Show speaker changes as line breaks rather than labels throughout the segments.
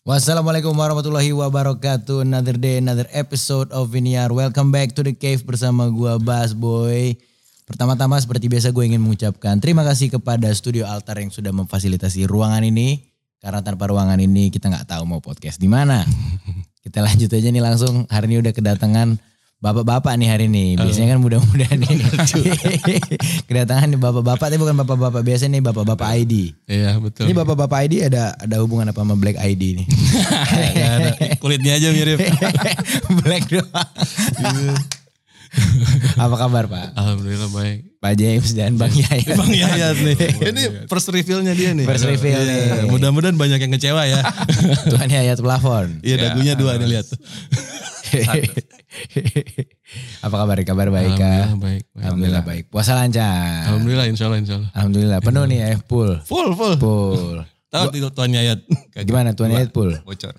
Wassalamualaikum warahmatullahi wabarakatuh. Another day, another episode of Viniar. Welcome back to the cave bersama gua Bas Boy. Pertama-tama seperti biasa gue ingin mengucapkan terima kasih kepada Studio Altar yang sudah memfasilitasi ruangan ini. Karena tanpa ruangan ini kita nggak tahu mau podcast di mana. kita lanjut aja nih langsung. Hari ini udah kedatangan bapak-bapak nih hari ini. Biasanya kan mudah-mudahan nih. kedatangan nih bapak-bapak, tapi bukan bapak-bapak biasanya nih bapak-bapak ID.
Iya betul.
Ini bapak-bapak ID ada ada hubungan apa sama Black ID nih?
Nggak ada. Kulitnya aja mirip.
Black doang. apa kabar Pak?
Alhamdulillah baik. Iya,
Pak James dan Bang Yaya.
Bang Yayat nih. Ini first reveal-nya dia nih.
First reveal nih.
Iya, Mudah-mudahan banyak yang kecewa ya.
Tuhan Yaya plafon.
Iya dagunya dua nih lihat.
apa kabar? Kabar baik Kak?
Alhamdulillah baik. baik.
Alhamdulillah baik. Puasa lancar.
Alhamdulillah insya Allah insya Allah.
Alhamdulillah penuh nih ya full.
Full full.
Full.
Tahu itu Tuan Yayat.
Gimana Tuhan Yaya full?
Bocor.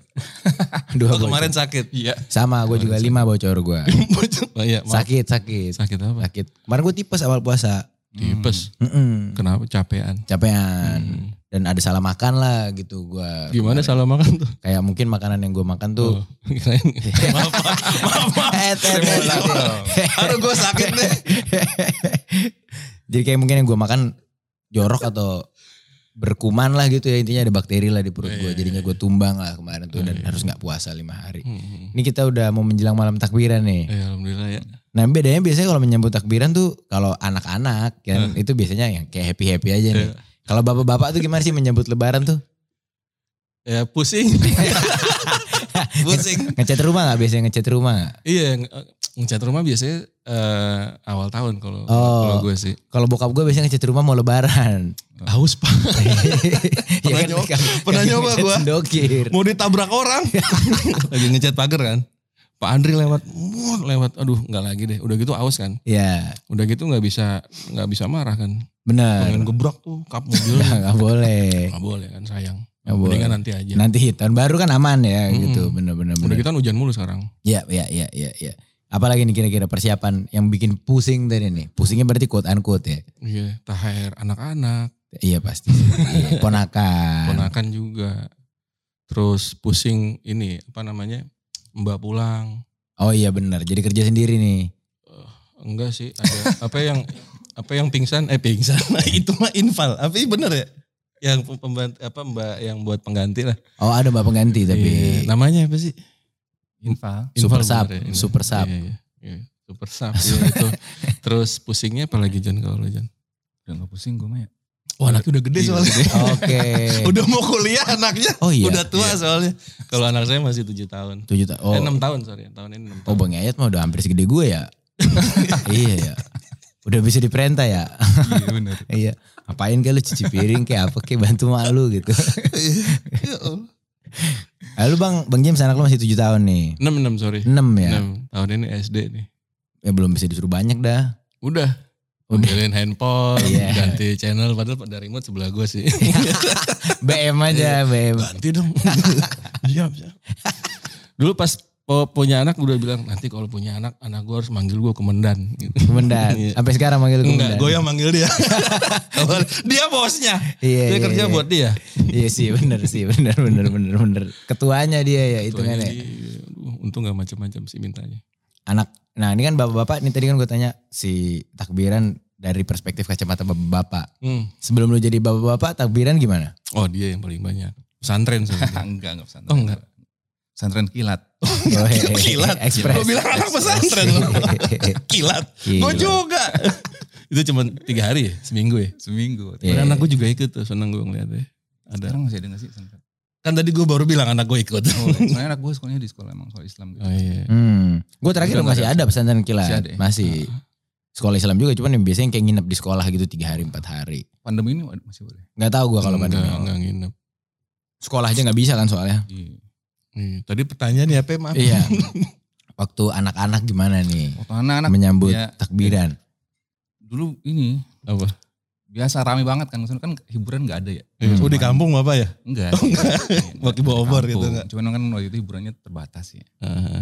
Dua
Oh,
bocor.
kemarin sakit. Iya.
Sama gue juga lima bocor gue.
Bocor. Oh, iya, maaf.
Sakit sakit.
Sakit apa?
Sakit. Kemarin gue tipes awal puasa.
Tipes.
Mm-mm.
Kenapa capean?
Capean. Dan ada salah makan lah gitu gue.
Gimana salah makan tuh?
Kayak mungkin makanan yang gue makan tuh.
Oh, kirain. maaf, Pak. maaf, maaf.
Eh, eh, eh, eh.
Aduh gue sakit nih.
Jadi kayak mungkin yang gue makan jorok atau berkuman lah gitu ya intinya ada bakteri lah di perut
Iya.
gue jadinya gue tumbang lah kemarin tuh dan harus nggak puasa lima hari. Ini kita udah mau menjelang malam takbiran nih.
Ya, Hmm. Alhamdulillah ya.
Nah bedanya biasanya kalau menyambut takbiran tuh kalau anak-anak kan
Iya.
itu biasanya yang kayak happy happy aja
Eh,
nih. Kalau bapak-bapak tuh gimana sih menyambut lebaran tuh?
Ya pusing. pusing.
Ngecat rumah nggak biasanya ngecat rumah nggak?
Iya, nge- ngecat rumah biasanya eh, awal tahun kalau
Oh.
kalau gue sih.
Kalau bokap gue biasanya ngecat rumah mau lebaran.
Haus pak.
Ya
Pernah
kan?
nyoba- pernah nyoba gua.
Dokir.
Mau ditabrak orang. lagi ngecat pagar kan. Pak Andri lewat, wuh, lewat. Aduh, nggak lagi deh. Udah gitu aus kan.
Ya,
Udah gitu nggak bisa nggak bisa marah kan.
benar.
Pengen gebrak tuh kap mobilnya.
Enggak boleh.
Gak boleh kan sayang.
Nggak
Mendingan nanti aja.
Nanti tahun baru kan aman ya
Mm-mm.
gitu. Benar-benar
Udah
benar.
gitu kan hujan mulu sekarang.
Ya, ya, ya, ya, ya. Apalagi nih kira-kira persiapan yang bikin pusing tadi nih. Pusingnya berarti quote unquote ya.
Iya, taher anak-anak.
Iya pasti. Iya, ponakan.
ponakan juga terus pusing ini apa namanya mbak pulang
Oh iya benar. Jadi kerja sendiri nih.
enggak sih ada apa yang apa yang pingsan eh pingsan itu mah infal apa ini bener ya yang pem- pembantu apa mbak yang buat pengganti lah
Oh ada mbak pengganti tapi
Iya, namanya apa sih
Infal.
Super
Infal
sub,
bener ya, ini.
super sub.
Iya, iya, iya. super sub iya, itu terus pusingnya apa lagi John kalau lu, John
Udah gak pusing gue mah ya.
wah anaknya udah gede
Iya,
soalnya
Oke.
udah mau kuliah anaknya
Oh iya.
udah tua
Iya.
soalnya kalau anak saya masih tujuh tahun
Tujuh ta-
Eh,
Oh,
enam tahun sorry tahun ini enam
oh
tahun
Bang Yayat mah udah hampir segede gue ya. iya ya. Udah bisa diperintah ya.
Iya bener.
Iya. Ngapain kayak lu cuci piring kayak apa kayak bantu mak lu gitu.
Ya Allah.
Lalu bang, bang James anak lu masih 7 tahun nih.
enam enam sorry
6 ya.
enam tahun ini SD nih
Ya belum bisa disuruh banyak dah.
udah
Udah.
Ambilin handphone,
Iya.
ganti channel, padahal pada remote sebelah gue sih.
BM
Iya.
aja, BM.
ganti dong. siap, siap. Dulu pas po- punya anak udah bilang, nanti kalau punya anak, anak gue harus manggil gue kemendan. Gitu.
Kemendan.
Iya.
Sampai sekarang manggil kemendan.
Enggak, gue yang manggil dia. Awal- dia bosnya.
Iya,
dia
iya,
kerja
iya.
buat dia.
Iya sih, bener sih, bener, bener, bener, bener. Ketuanya dia ya,
Tuanya
hitungannya.
dia, aduh, untung gak macam-macam sih mintanya.
anak. Nah ini kan bapak-bapak, ini tadi kan gue tanya si takbiran dari perspektif kacamata bapak-bapak.
Hmm.
Sebelum lu jadi bapak-bapak, takbiran gimana?
Oh dia yang paling banyak. Pesantren soalnya.
enggak, enggak pesantren.
Oh, enggak.
Pesantren kilat.
Oh, hei, hei,
Kilat.
Ekspres.
Gua bilang anak pesantren
Iya.
lu. Kilat. Gue
Kilat.
juga. Iya. itu cuma tiga hari ya, seminggu ya.
Seminggu.
Iya.
Dan anak gue juga ikut tuh, seneng gue ngeliatnya. Ada.
Sekarang masih ada gak sih pesantren?
Kan tadi gue baru bilang anak gue ikut.
Oh, soalnya anak gue sekolahnya di sekolah emang sekolah Islam gitu.
Oh iya.
Hmm. Gue terakhir
Udah
masih
nggak
ada pesantren
Masih
kilat.
ada ya?
Masih.
Hmm.
Sekolah Islam juga cuman yang biasanya kayak nginep di sekolah gitu tiga hari empat hari.
Pandemi ini wad- masih boleh.
Gak tahu gua kalau
Enggak,
pandemi.
enggak nginep.
Sekolah aja nggak bisa kan soalnya.
Di
Iya, Tadi pertanyaannya apa maaf?
iya. Waktu anak-anak gimana nih
waktu Oh, anak-anak
menyambut
iya.
ya.
takbiran?
dulu ini
Apa?
biasa rame banget kan. Maksudnya kan hiburan gak ada ya.
Iya,
Hmm.
Oh di kampung apa ya?
Enggak.
Pakai bawa obor gitu, enggak?
enggak. Cuman kan waktu itu hiburannya terbatas ya.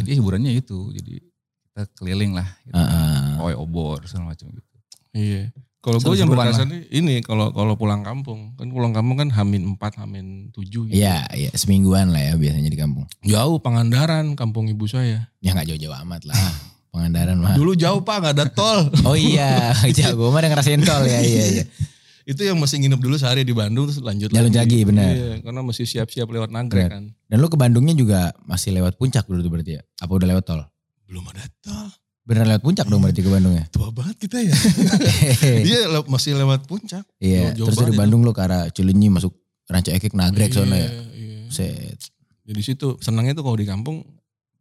Jadi hiburannya itu. Jadi kita keliling lah. Gitu.
Heeh.
Oi obor segala macam gitu.
Iya. Kalau gue yang
Seru-seruan
berkesan nih, ini kalau kalau pulang kampung kan pulang kampung kan hamin 4, hamin 7 gitu.
Iya, iya semingguan lah ya biasanya di kampung.
Jauh Pangandaran kampung ibu saya.
Ya nggak jauh-jauh amat lah. Pengandaran mah.
Dulu jauh Pak nggak ada tol.
Oh iya, jago mah ada ngerasain tol ya, iya iya.
Itu yang mesti nginep dulu sehari di Bandung terus lanjut
Jalur
lagi.
Jagi, benar.
Iya, karena mesti siap-siap lewat nagrek kan.
Dan lu ke Bandungnya juga masih lewat puncak dulu tuh berarti ya? Apa udah lewat tol?
Belum ada tol.
Bener lewat puncak dong berarti ke Bandungnya?
Tua banget kita ya. Dia le- masih lewat puncak.
Iya,
Jauh
terus dari
Iya. banget itu.
Bandung lu ke arah Cilenyi masuk Ranca Ekek nagrek sana ya.
Iya.
Set.
Ya, di situ senangnya tuh kalau di kampung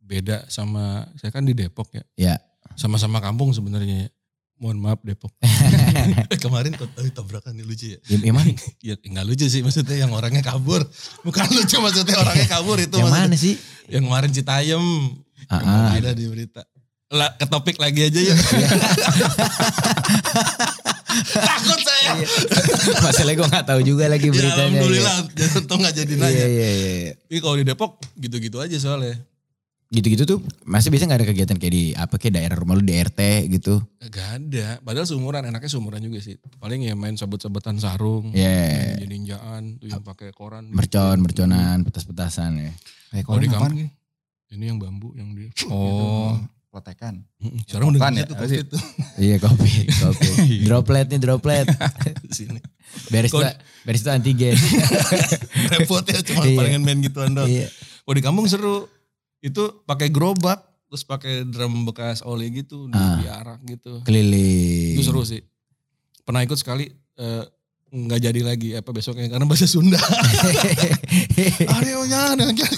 beda sama saya kan di Depok ya.
Iya.
Sama-sama kampung sebenarnya ya. Mohon maaf Depok. Kemarin tuh tapi tabrakan nih lucu ya.
Ya, ya mana?
Ya enggak lucu sih maksudnya yang orangnya kabur. Bukan lucu maksudnya orangnya kabur itu
yang
maksudnya.
mana sih?
Yang kemarin Citayem.
Ah, Iya. ah.
Ada di berita. Lah, ke topik lagi aja ya. yuk. Takut saya.
Masalahnya gue gak tahu juga lagi
Ya,
Iya, beritanya.
alhamdulillah, jangan tau nggak jadi
Iya,
nanya.
Iya, iya, iya.
Tapi kalau di Depok gitu-gitu aja soalnya.
Gitu-gitu tuh masih biasa gak ada kegiatan kayak di apa kayak daerah rumah lu di RT gitu.
Gak ada. Padahal seumuran, enaknya seumuran juga sih. Paling ya main sabut-sabutan sarung,
Iya.
jadi ninjaan, tuh yang pakai koran.
Mercon, merconan, petas-petasan ya.
Kayak
Kalau di
apaan,
Eh, kampung Gitu. ini yang bambu yang di.
Oh, protekan.
Mm-mm. Sekarang udah
Apaan
nggak
ya?
tuh
Apa
covid
sih?
tuh
Iya kopi, kopi. Droplet nih droplet.
di sini.
Barista, barista antigen.
Repot ya cuma
Iya.
palingan main gituan doang.
iya.
Kalau di kampung seru. Itu pakai gerobak, terus pakai drum bekas oli gitu, di-
Ah.
diarak gitu.
Keliling.
Itu seru sih. Pernah ikut sekali eh, nggak jadi lagi apa besoknya karena bahasa Sunda. Ayo jangan jangan.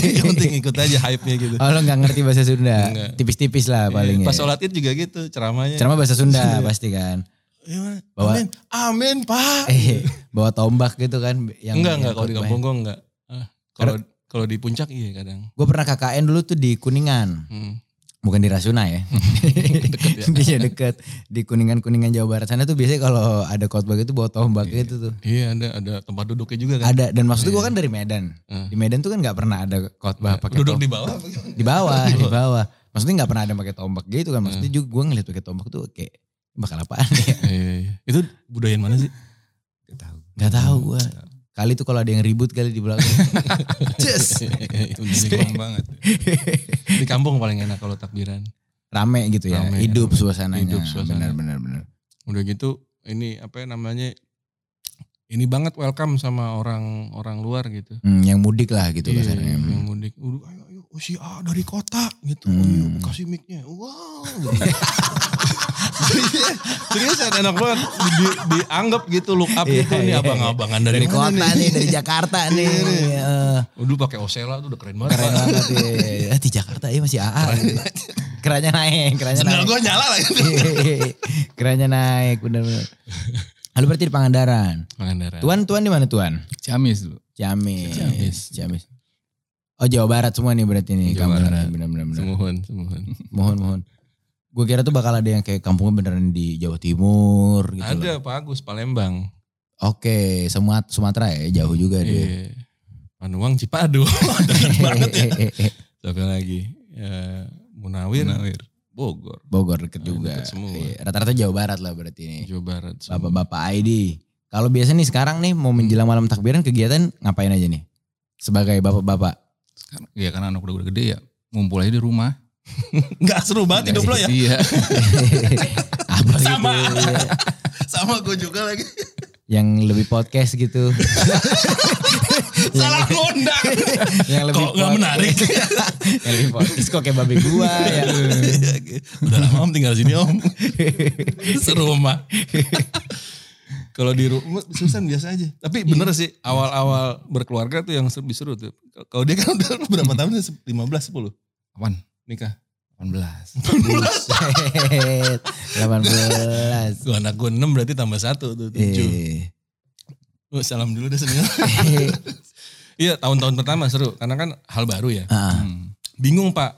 Yang penting ikut aja hype-nya gitu.
oh lo gak ngerti bahasa Sunda.
Enggak.
Tipis-tipis lah paling
Iya, Pas
ya.
sholat id juga gitu ceramahnya.
Ceramah bahasa Sunda pasti kan.
Gimana?
Bawa-
Amin, amin pak.
Eh, bawa tombak gitu kan. Yang
enggak enggak kalau di kampung gue enggak. Ah, Kalau kalau di puncak iya kadang.
Gue pernah KKN dulu tuh di Kuningan.
Hmm.
Bukan di Rasuna ya.
Iya. Deket ya.
Iya deket. Di Kuningan-Kuningan Jawa Barat sana tuh biasanya kalau ada khotbah gitu bawa tombak gitu tuh.
Iya ada ada tempat duduknya juga kan.
Ada dan maksudnya gue kan dari Medan.
Hmm.
Di Medan tuh kan nggak pernah ada khotbah pakai tombak.
Duduk di bawah. apa gimana?
Di bawah, di bawah. Maksudnya nggak pernah ada yang pakai tombak gitu kan.
Hmm.
Maksudnya juga gue ngeliat pakai tombak tuh kayak bakal apaan ya.
Iya, iya. Itu budaya yang mana sih?
Gak tahu.
Gak tahu gue.
Hmm.
Kali tuh kalau ada yang ribut kali di belakang. Yes.
Iya,
Bingung banget.
di kampung paling enak kalau takbiran.
Rame gitu ya.
Rame,
hidup
rame.
suasananya.
Hidup suasana.
Benar, benar, benar.
Udah gitu ini apa namanya? Ini banget welcome sama orang orang luar gitu.
Hmm, yang mudik lah gitu
Iya,
kasarnya.
yang mudik. Udah, ayo, ayo, oh, si A dari kota gitu.
Hmm.
Ayo, kasih mic-nya. Wow. Seriusan enak banget. Di- dianggap gitu look up
Iya,
gitu nih
iya.
abang-abangan dari,
Dari
mana
kota nih, dari Jakarta
Iya,
nih. Eh,
nih? Dulu pakai Osela tuh udah keren banget.
keren
Pak.
banget ya. Eh, Di Jakarta ya masih AA. gitu. Kerannya naik, kerannya naik. Iya,
Sendal gue nyala lah gitu.
kerannya naik, benar-benar. Lalu berarti di Pangandaran.
Pangandaran.
Tuan, tuan di mana tuan?
Ciamis dulu.
Ciamis.
Ciamis.
Ciamis. Oh Jawa Barat semua nih berarti nih.
Jawa
kampungnya.
Barat.
Benar-benar. benar.
Semuhun, semuhun.
Mohon, mohon. Gue kira tuh bakal ada yang kayak kampungnya beneran di Jawa Timur gitu. loh.
Ada Pak Agus Palembang.
Oke, Sumat- Sumatera ya jauh juga dia.
Iya. Panuang Cipadu. Deket banget ya. Siapa lagi? Eh, Munawir.
Munawir.
Bogor.
Bogor deket juga.
Deket semua.
Iya, Rata-rata Jawa Barat lah berarti nih.
Iya.
Jawa Barat. semua.
Bapak-bapak ID. Kalau biasa nih sekarang nih mau menjelang malam takbiran kegiatan ngapain aja nih? Sebagai bapak-bapak.
Sekarang-
Iya,
Ya karena anak udah, udah gede ya. Ngumpul aja di rumah.
Gak seru banget hidup lo ya.
Iya.
Apa gitu,
Sama.
iya.
Sama gue juga lagi.
Yang lebih podcast gitu.
Iya.
Salah ngundang.
yang lebih
Kok nggak
pod-
menarik?
yang lebih podcast kok kayak babi gua ya.
Iya, gitu. Udah lama om tinggal sini om. Seru mah. Kalau di rumah Susan biasa aja. Tapi bener sih awal-awal berkeluarga tuh yang lebih seru tuh. Kalau dia kan udah berapa tahun? 15, 10
Apaan?
nikah.
18.
Nah.
18.
Gua anak gue 6 berarti tambah 1 tuh 7.
Eh.
Oh, salam dulu deh sebenarnya. Iya tahun-tahun pertama seru. Karena kan hal baru ya.
Ah,
Hmm.
bingung pak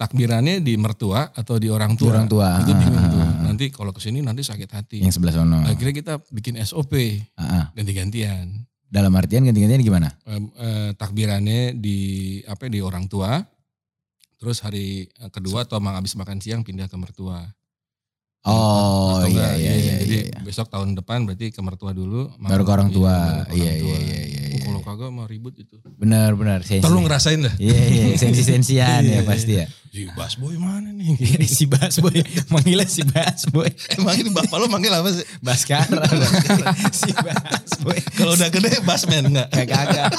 takbirannya di mertua atau di orang tua
Di orang tua.
itu bingung
Ah,
tuh
ah,
nanti kalau kesini nanti sakit hati
yang sebelah sono.
akhirnya kita bikin SOP
Ah, ah.
ganti-gantian
Dalam artian ganti-gantian gimana?
Em, eh, takbirannya di apa ya, di orang tua terus hari eh, kedua atau emang abis makan siang pindah ke mertua
Oh
Atau
iya
enggak,
iya iya.
Jadi
iya.
besok tahun depan berarti ke mertua dulu.
Baru ke orang tua. Iya, iya, iya, iya,
iya. Kalau kagak mah ribut itu.
Benar benar sensi.
Ntar lu ngerasain lah.
Iya iya sensi-sensian ya pasti ya.
Si Bas Boy mana nih?
si Bas Boy, manggilnya si Bas Boy.
Emang ini bapak lo manggil apa sih?
Baskara. si Bas Boy.
Kalau udah gede Basman enggak?
Kayak kagak.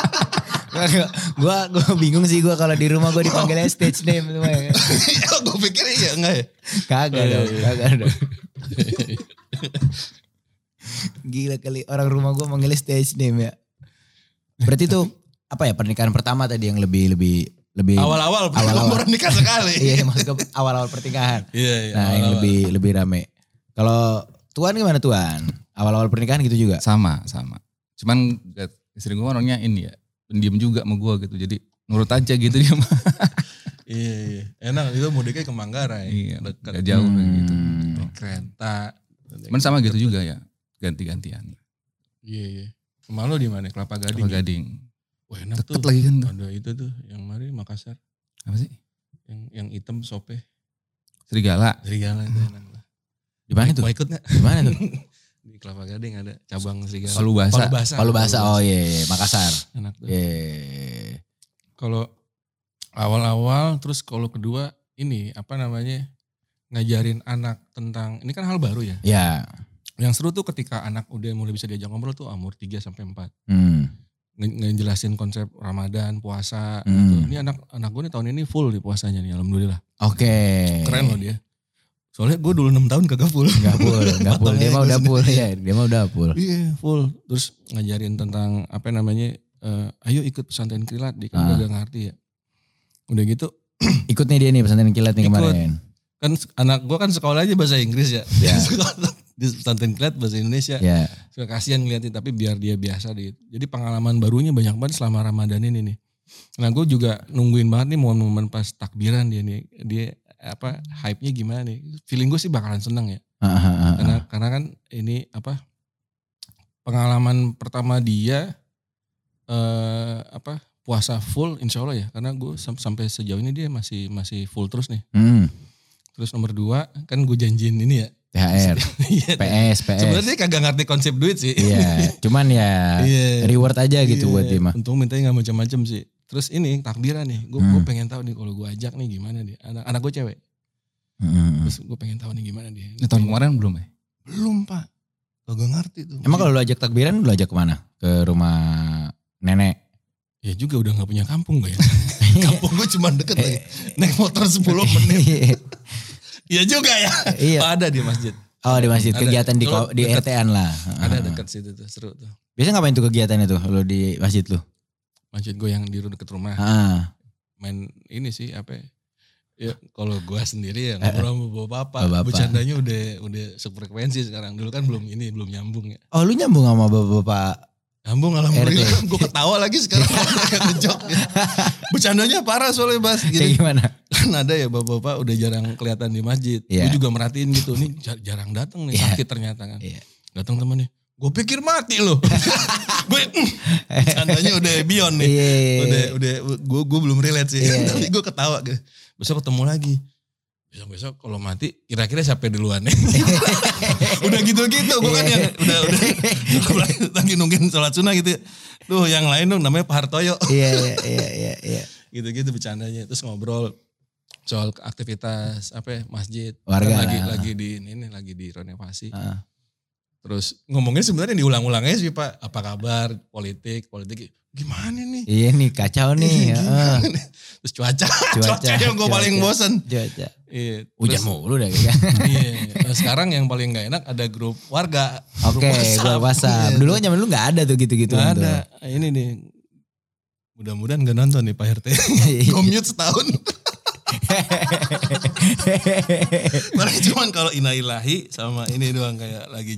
Kagak. gua gua bingung sih gua kalau di rumah gua dipanggilnya stage name semua ya.
gue pikir iya enggak ya.
Kagak dong, kagak dong. Gila kali orang rumah gua manggilnya stage name ya. Berarti itu apa ya pernikahan pertama tadi yang lebih lebih lebih
Awal-awal
Iya. Awal-awal.
baru nikah sekali.
Iya, maksud gua awal-awal pernikahan.
Iya, iya.
Nah, yang
awal-awal.
lebih lebih rame. Kalau Tuan gimana Tuan? Awal-awal pernikahan gitu juga.
Sama, sama. Cuman gak- istri gue orangnya ini ya, pendiam juga sama gue gitu. Jadi nurut aja gitu dia mah.
Iya, iya. Enak itu mudiknya ke Manggarai.
Iya,
Dekat.
gak jauh lah gitu.
Hmm.
Kereta.
Cuman sama gitu juga ya, ganti-gantian.
Iya, iya. Kemana lo di mana? Kelapa Gading. ya?
Apa gading?
Wah, enak tuh.
Deket lagi kan tuh.
Ada itu tuh yang mari Makassar.
Apa sih?
Yang yang hitam sope.
Serigala.
Serigala itu enak lah.
Di mana tuh?
Mau ikut gak?
Di mana tuh?
Di Kelapa Gading ada cabang serigala.
Palu Basa.
Basah.
Palu Basa. Oh iya, iya. Makassar.
Enak tuh.
Iya.
Kalau awal-awal terus kalau kedua ini apa namanya ngajarin anak tentang ini kan hal baru ya.
Ya.
Yang seru tuh ketika anak udah mulai bisa diajak ngobrol tuh umur 3 sampai 4.
Hmm.
Nge- ngejelasin konsep Ramadan, puasa
Hmm.
gitu. Ini anak anak gue nih tahun ini full di puasanya nih alhamdulillah.
Oke.
Keren loh dia. Soalnya gue dulu 6 tahun kagak full.
Gak full, gak full. Dia mah udah full ya. Dia mah udah full.
Iya full. Terus ngajarin tentang apa namanya. eh, ayo ikut pesantren kilat. Dia kan
Ah.
udah ngerti ya. Udah gitu.
Ikut nih dia nih pesantren kilat nih
Ikut.
kemarin.
Kan se- anak gua kan sekolah aja bahasa Inggris ya.
Iya.
Di pesantren kilat bahasa Indonesia.
Ya.
Suka kasihan ngeliatin. Tapi biar dia biasa. Di, jadi pengalaman barunya banyak banget selama Ramadan ini nih. Nah gue juga nungguin banget nih momen-momen pas takbiran dia nih. Dia apa hype-nya gimana nih. Feeling gue sih bakalan seneng ya.
Ah, ah, ah, ah.
karena karena kan ini apa pengalaman pertama dia eh apa puasa full insya Allah ya karena gue sam- sampai sejauh ini dia masih masih full terus nih
Hmm.
terus nomor dua kan gue janjiin ini ya
THR,
Iya.
PS, PS.
sebenarnya dia kagak ngerti konsep duit sih
Iya. Cuman ya
iya
reward aja gitu buat dia mah.
untung mintanya nggak macam-macam sih terus ini takbiran nih gue
Hmm.
pengen tahu nih kalau gue ajak nih gimana dia anak anak gue cewek
Hmm.
terus gue pengen tahu nih gimana dia
Nah, tahun kemarin belum ya?
belum pak kagak ngerti tuh
Emang kalau lu ajak takbiran lu ajak kemana? Ke rumah nenek.
Ya juga udah gak punya kampung gue ya.
Iya.
kampung gue cuma deket lagi. Naik motor 10 menit. Ya juga ya.
Iya.
Ada di masjid.
Oh di masjid
Ada.
kegiatan di ko-
Kalau
di
dekat-
RT-an lah.
Ada dekat situ tuh seru tuh.
Biasanya ngapain tuh kegiatannya tuh lu di masjid lu?
Masjid gue yang di deket rumah.
Heeh.
Main ini sih apa ya. Ya, kalau gue sendiri ya ngobrol sama bapak bapak,
Eh, Bapak-bapak.
bercandanya udah udah sefrekuensi sekarang. Dulu kan belum ini, belum nyambung ya.
Oh lu nyambung sama bapak-bapak. ya?
Nyambung alhamdulillah, gue ketawa lagi sekarang kayak ngejok. ya. Bercandanya parah soalnya Bas.
Kayak gitu.
Jadi
gimana?
kan ada ya bapak-bapak udah jarang kelihatan di masjid.
Iya.
Gue juga merhatiin gitu, nih jar- jarang datang nih
Iya.
sakit ternyata kan.
Iya.
Datang temannya, gue pikir mati loh. gue candanya udah beyond nih.
Iya.
Udah udah gue gue belum relate sih.
Iya,
Tapi gue ketawa gitu. Besok ketemu lagi. Besok-besok kalau mati kira-kira siapa yang duluan nih. udah gitu-gitu gue kan yang udah udah lagi nungguin sholat sunnah gitu. Tuh yang lain dong namanya Pak Hartoyo
Iya iya iya iya. iya.
gitu-gitu bercandanya terus ngobrol soal aktivitas apa ya, masjid
Warga
Kan lagi
lah. Ah.
lagi di ini nih, lagi di renovasi
Heeh.
terus ngomongnya sebenarnya diulang-ulangnya sih pak apa kabar politik politik gimana nih
Iya nih kacau nih. Heeh.
Gimana nih? terus cuaca cuaca,
Cuaca,
yang gue
cuaca.
paling bosen
Cuaca.
iya
Hujan
terus-
mulu dah kayaknya.
iya. Nah, sekarang yang paling gak enak ada grup warga grup
Oke, gua WhatsApp.
Iya.
Dulu kan zaman dulu enggak ada tuh gitu-gitu.
Nggak
tuh.
ada ini nih mudah-mudahan gak nonton nih pak rt
Iya.
Gua mute setahun Paling cuman kalau inailahi sama ini doang kayak lagi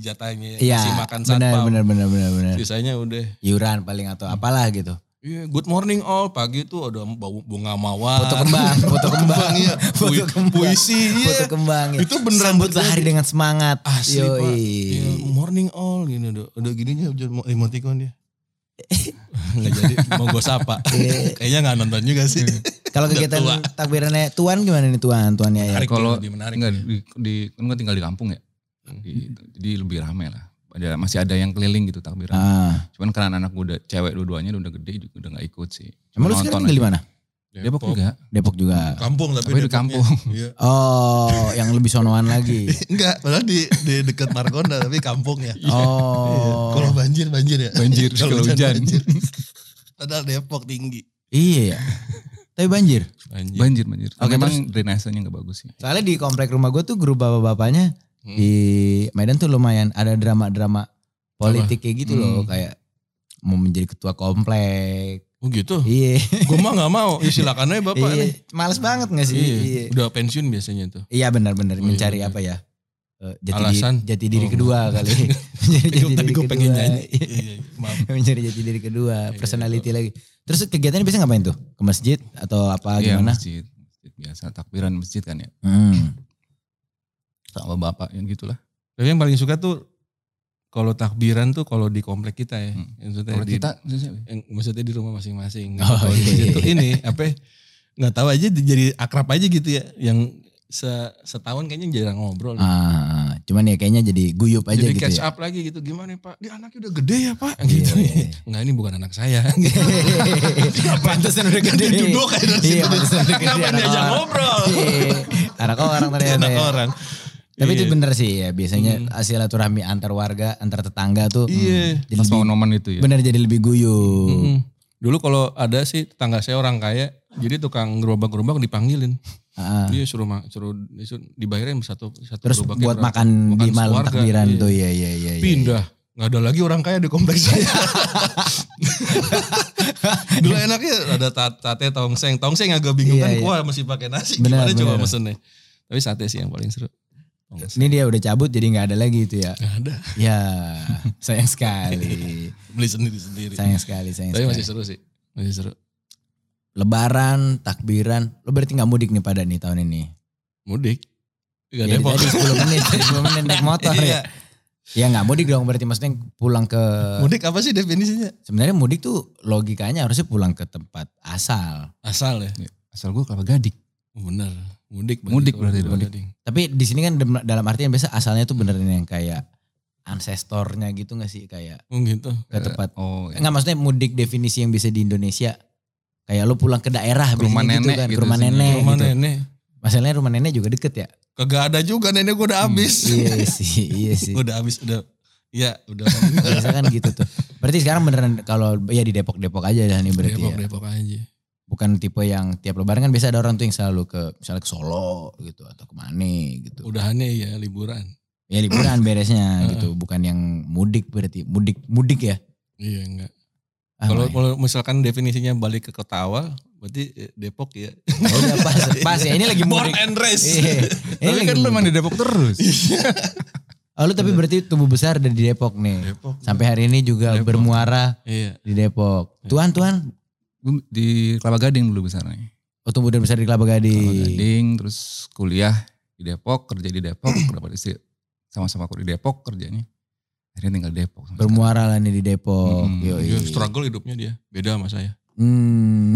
jatahnya
Iya.
kasih makan
Benar
satpam.
benar benar benar benar.
Sisanya udah
Iuran paling atau apalah gitu.
iya good morning all pagi tuh ada bau bunga mawar.
Foto kembang, foto kembang.
Ah. iya.
Foto
Pui-
kembang.
Puisi
Foto
iya.
kembang. ya.
Itu beneran
Sambut
beneran.
sehari dengan semangat.
Asli Pak.
Yoi.
Iya, morning all gini udah udah gininya udah eh, mo-
Iya.
emoticon dia. Nggak jadi mau gue sapa. Kayaknya nggak nonton juga sih.
Kalau kegiatan
tua.
takbirannya tuan gimana nih tuan? Tuan ya.
Menarik tuh,
Kalau-
lebih menarik.
Enggak, di, di, kan gua tinggal di kampung ya.
Hmm.
Di- jadi lebih ramai lah. Ada, masih ada yang keliling gitu takbiran.
Ah,
Cuman karena anak muda, cewek dua-duanya udah gede juga udah gak ikut sih.
emang
Cuma
lu sekarang tinggal di mana?
aja. Depok juga.
Depok juga.
Kampung tapi
Tapi di
Depoknya.
kampung.
Iya.
Oh, yang lebih sonoan lagi.
Enggak, padahal di di dekat Margonda tapi ya. kampungnya.
Oh,
Iya. Kalau banjir banjir ya.
Banjir kalau hujan.
Padahal Depok tinggi.
iya. ya. Tapi banjir.
Banjir.
Banjir, banjir.
Oke,
Memang drainasenya gak bagus sih.
Soalnya di komplek rumah gue tuh grup bapak-bapaknya
Hmm.
di Medan tuh lumayan ada drama-drama politik kayak gitu loh,
Hmm.
kayak mau menjadi ketua komplek.
Oh gitu.
Iya.
Gue mah nggak mau. Ya silakan aja bapak.
Iya.
nih.
Males banget gak sih?
Iya.
Iya.
Udah pensiun biasanya tuh.
Iya benar-benar
Oh, iya,
mencari
iya.
apa ya? Eh, Jati
Alasan.
Diri, jati diri
Oh.
kedua kali. Mencari jati
Tadi
diri
gue
kedua.
pengen nyanyi. Iya, iya, Maaf.
Mencari jati diri kedua,
Iya,
personality lagi. Terus kegiatannya biasanya ngapain tuh? Ke masjid atau apa
Iya,
gimana?
masjid. Masjid biasa, takbiran masjid kan ya.
Hmm.
Sama bapak yang gitulah.
Tapi yang paling suka tuh kalau takbiran tuh kalau di komplek kita ya.
Hmm.
Yang Maksudnya,
Kalau
di,
kita, maksudnya,
yang maksudnya di rumah masing-masing.
Oh,
Kalau di
iya,
masjid
iya,
tuh ini apa? ya, Nggak tahu aja di- jadi akrab aja gitu ya. Yang se- setahun kayaknya jarang ngobrol.
Ah, cuman ya kayaknya jadi guyup aja
jadi
gitu
catch
ya.
up lagi gitu. Gimana Pak? Dia anaknya udah gede ya Pak?
Iya,
Gitu.
iya, iya.
Enggak ini bukan anak saya. ya.
pantesan udah gede.
Dia duduk aja dari
Iya,
situ.
pantesan udah gede.
Ngapain
anak
diajak
orang.
ngobrol?
Iya, Anak orang ternyata
anak
ya.
orang.
Tapi itu
Iya. Hmm.
bener sih ya, biasanya silaturahmi antar warga, antar tetangga tuh hmm,
Iya.
jadi
pas
lebih-
noman itu ya.
bener jadi lebih guyup.
Mm-mm. Dulu kalau ada sih tetangga saya orang kaya, jadi tukang gerobak-gerobak dipanggilin.
Ah.
Dia suruh ma- suruh disuruh dibayarin satu satu
Terus
gerobaknya
buat
berapa.
makan di
Makan
malam
sekeluarga,
takbiran
iya.
tuh ya ya ya.
pindah. Nggak ada lagi orang kaya di kompleks saya. Dulu enaknya ada ta- sate tongseng. Tongseng agak bingung
Iya,
kan
iya.
kuah mesti pakai nasi.
Benar,
Gimana coba
benar.
mesennya. Tapi sate sih yang paling seru. Tongseng.
Ini dia udah cabut jadi nggak ada lagi itu ya.
Nggak ada.
Ya sayang sekali,
Beli sendiri-sendiri.
sayang sekali, sayang
Tapi masih
sekali.
seru sih. Masih seru.
Lebaran, takbiran, lo berarti nggak mudik nih pada nih tahun ini.
Mudik. Gak
Ya,
Depok.
tadi 10 menit, 10 menit naik motor ya.
Iya.
Ya nggak mudik dong berarti maksudnya pulang ke
Mudik apa sih definisinya?
sebenarnya mudik tuh logikanya harusnya pulang ke tempat asal.
Asal ya.
Asal gue kelapa gadik.
Oh, Bener. Mudik.
Mudik berarti itu.
Mudik.
Tapi di sini kan dem- dalam artian biasa asalnya tuh beneran yang kayak ancestornya gitu nggak sih kayak
Oh gitu.
ke tempat
Oh, iya.
Enggak maksudnya mudik definisi yang bisa di Indonesia. Kayak lu pulang ke daerah
Ke rumah
biasanya gitu
nenek
kan,
gitu
ke rumah
sih.
nenek
Rumah
gitu.
nenek.
Masalahnya rumah nenek juga deket ya.
Kagak ada juga nenek gue udah habis.
iya sih, iya sih.
udah habis udah. Ya udah.
Biasa kan gitu tuh. Berarti sekarang beneran kalau ya di Depok-Depok aja dah nih berarti
Depok
ya.
Depok aja.
Bukan tipe yang tiap lebaran kan biasa ada orang tuh yang selalu ke misalnya ke Solo gitu atau ke mana gitu.
Udahannya ya liburan.
Ya liburan beresnya
Heeh.
gitu, bukan yang mudik berarti. Mudik mudik ya.
Iya enggak.
Ah,
Kalau
my.
kalau misalkan definisinya balik ke kota awal, berarti eh, Depok ya.
Oh, udah pas pas ya ini lagi
Born
mudik.
and raised.
Iya, ini
Tapi
lagi
kan lu
mudik.
emang di Depok terus.
Oh lu tapi berarti tumbuh besar dari Depok nih.
Depok.
Sampai hari ini juga
Depok.
bermuara
Iya.
di Depok. Tuan, Tuan.
Gua di Kelapa Gading dulu besarnya.
Oh tumbuh dan besar di Kelapa
Kelapa
Gading.
Gading, terus kuliah di Depok, kerja di Depok, dapat istri sama-sama kuliah di Depok kerjanya. Akhirnya tinggal di Depok. sama
Bermuara lah nih di Depok.
Mm-mm.
Yoi.
Dia struggle hidupnya dia. Beda sama saya.
Hmm.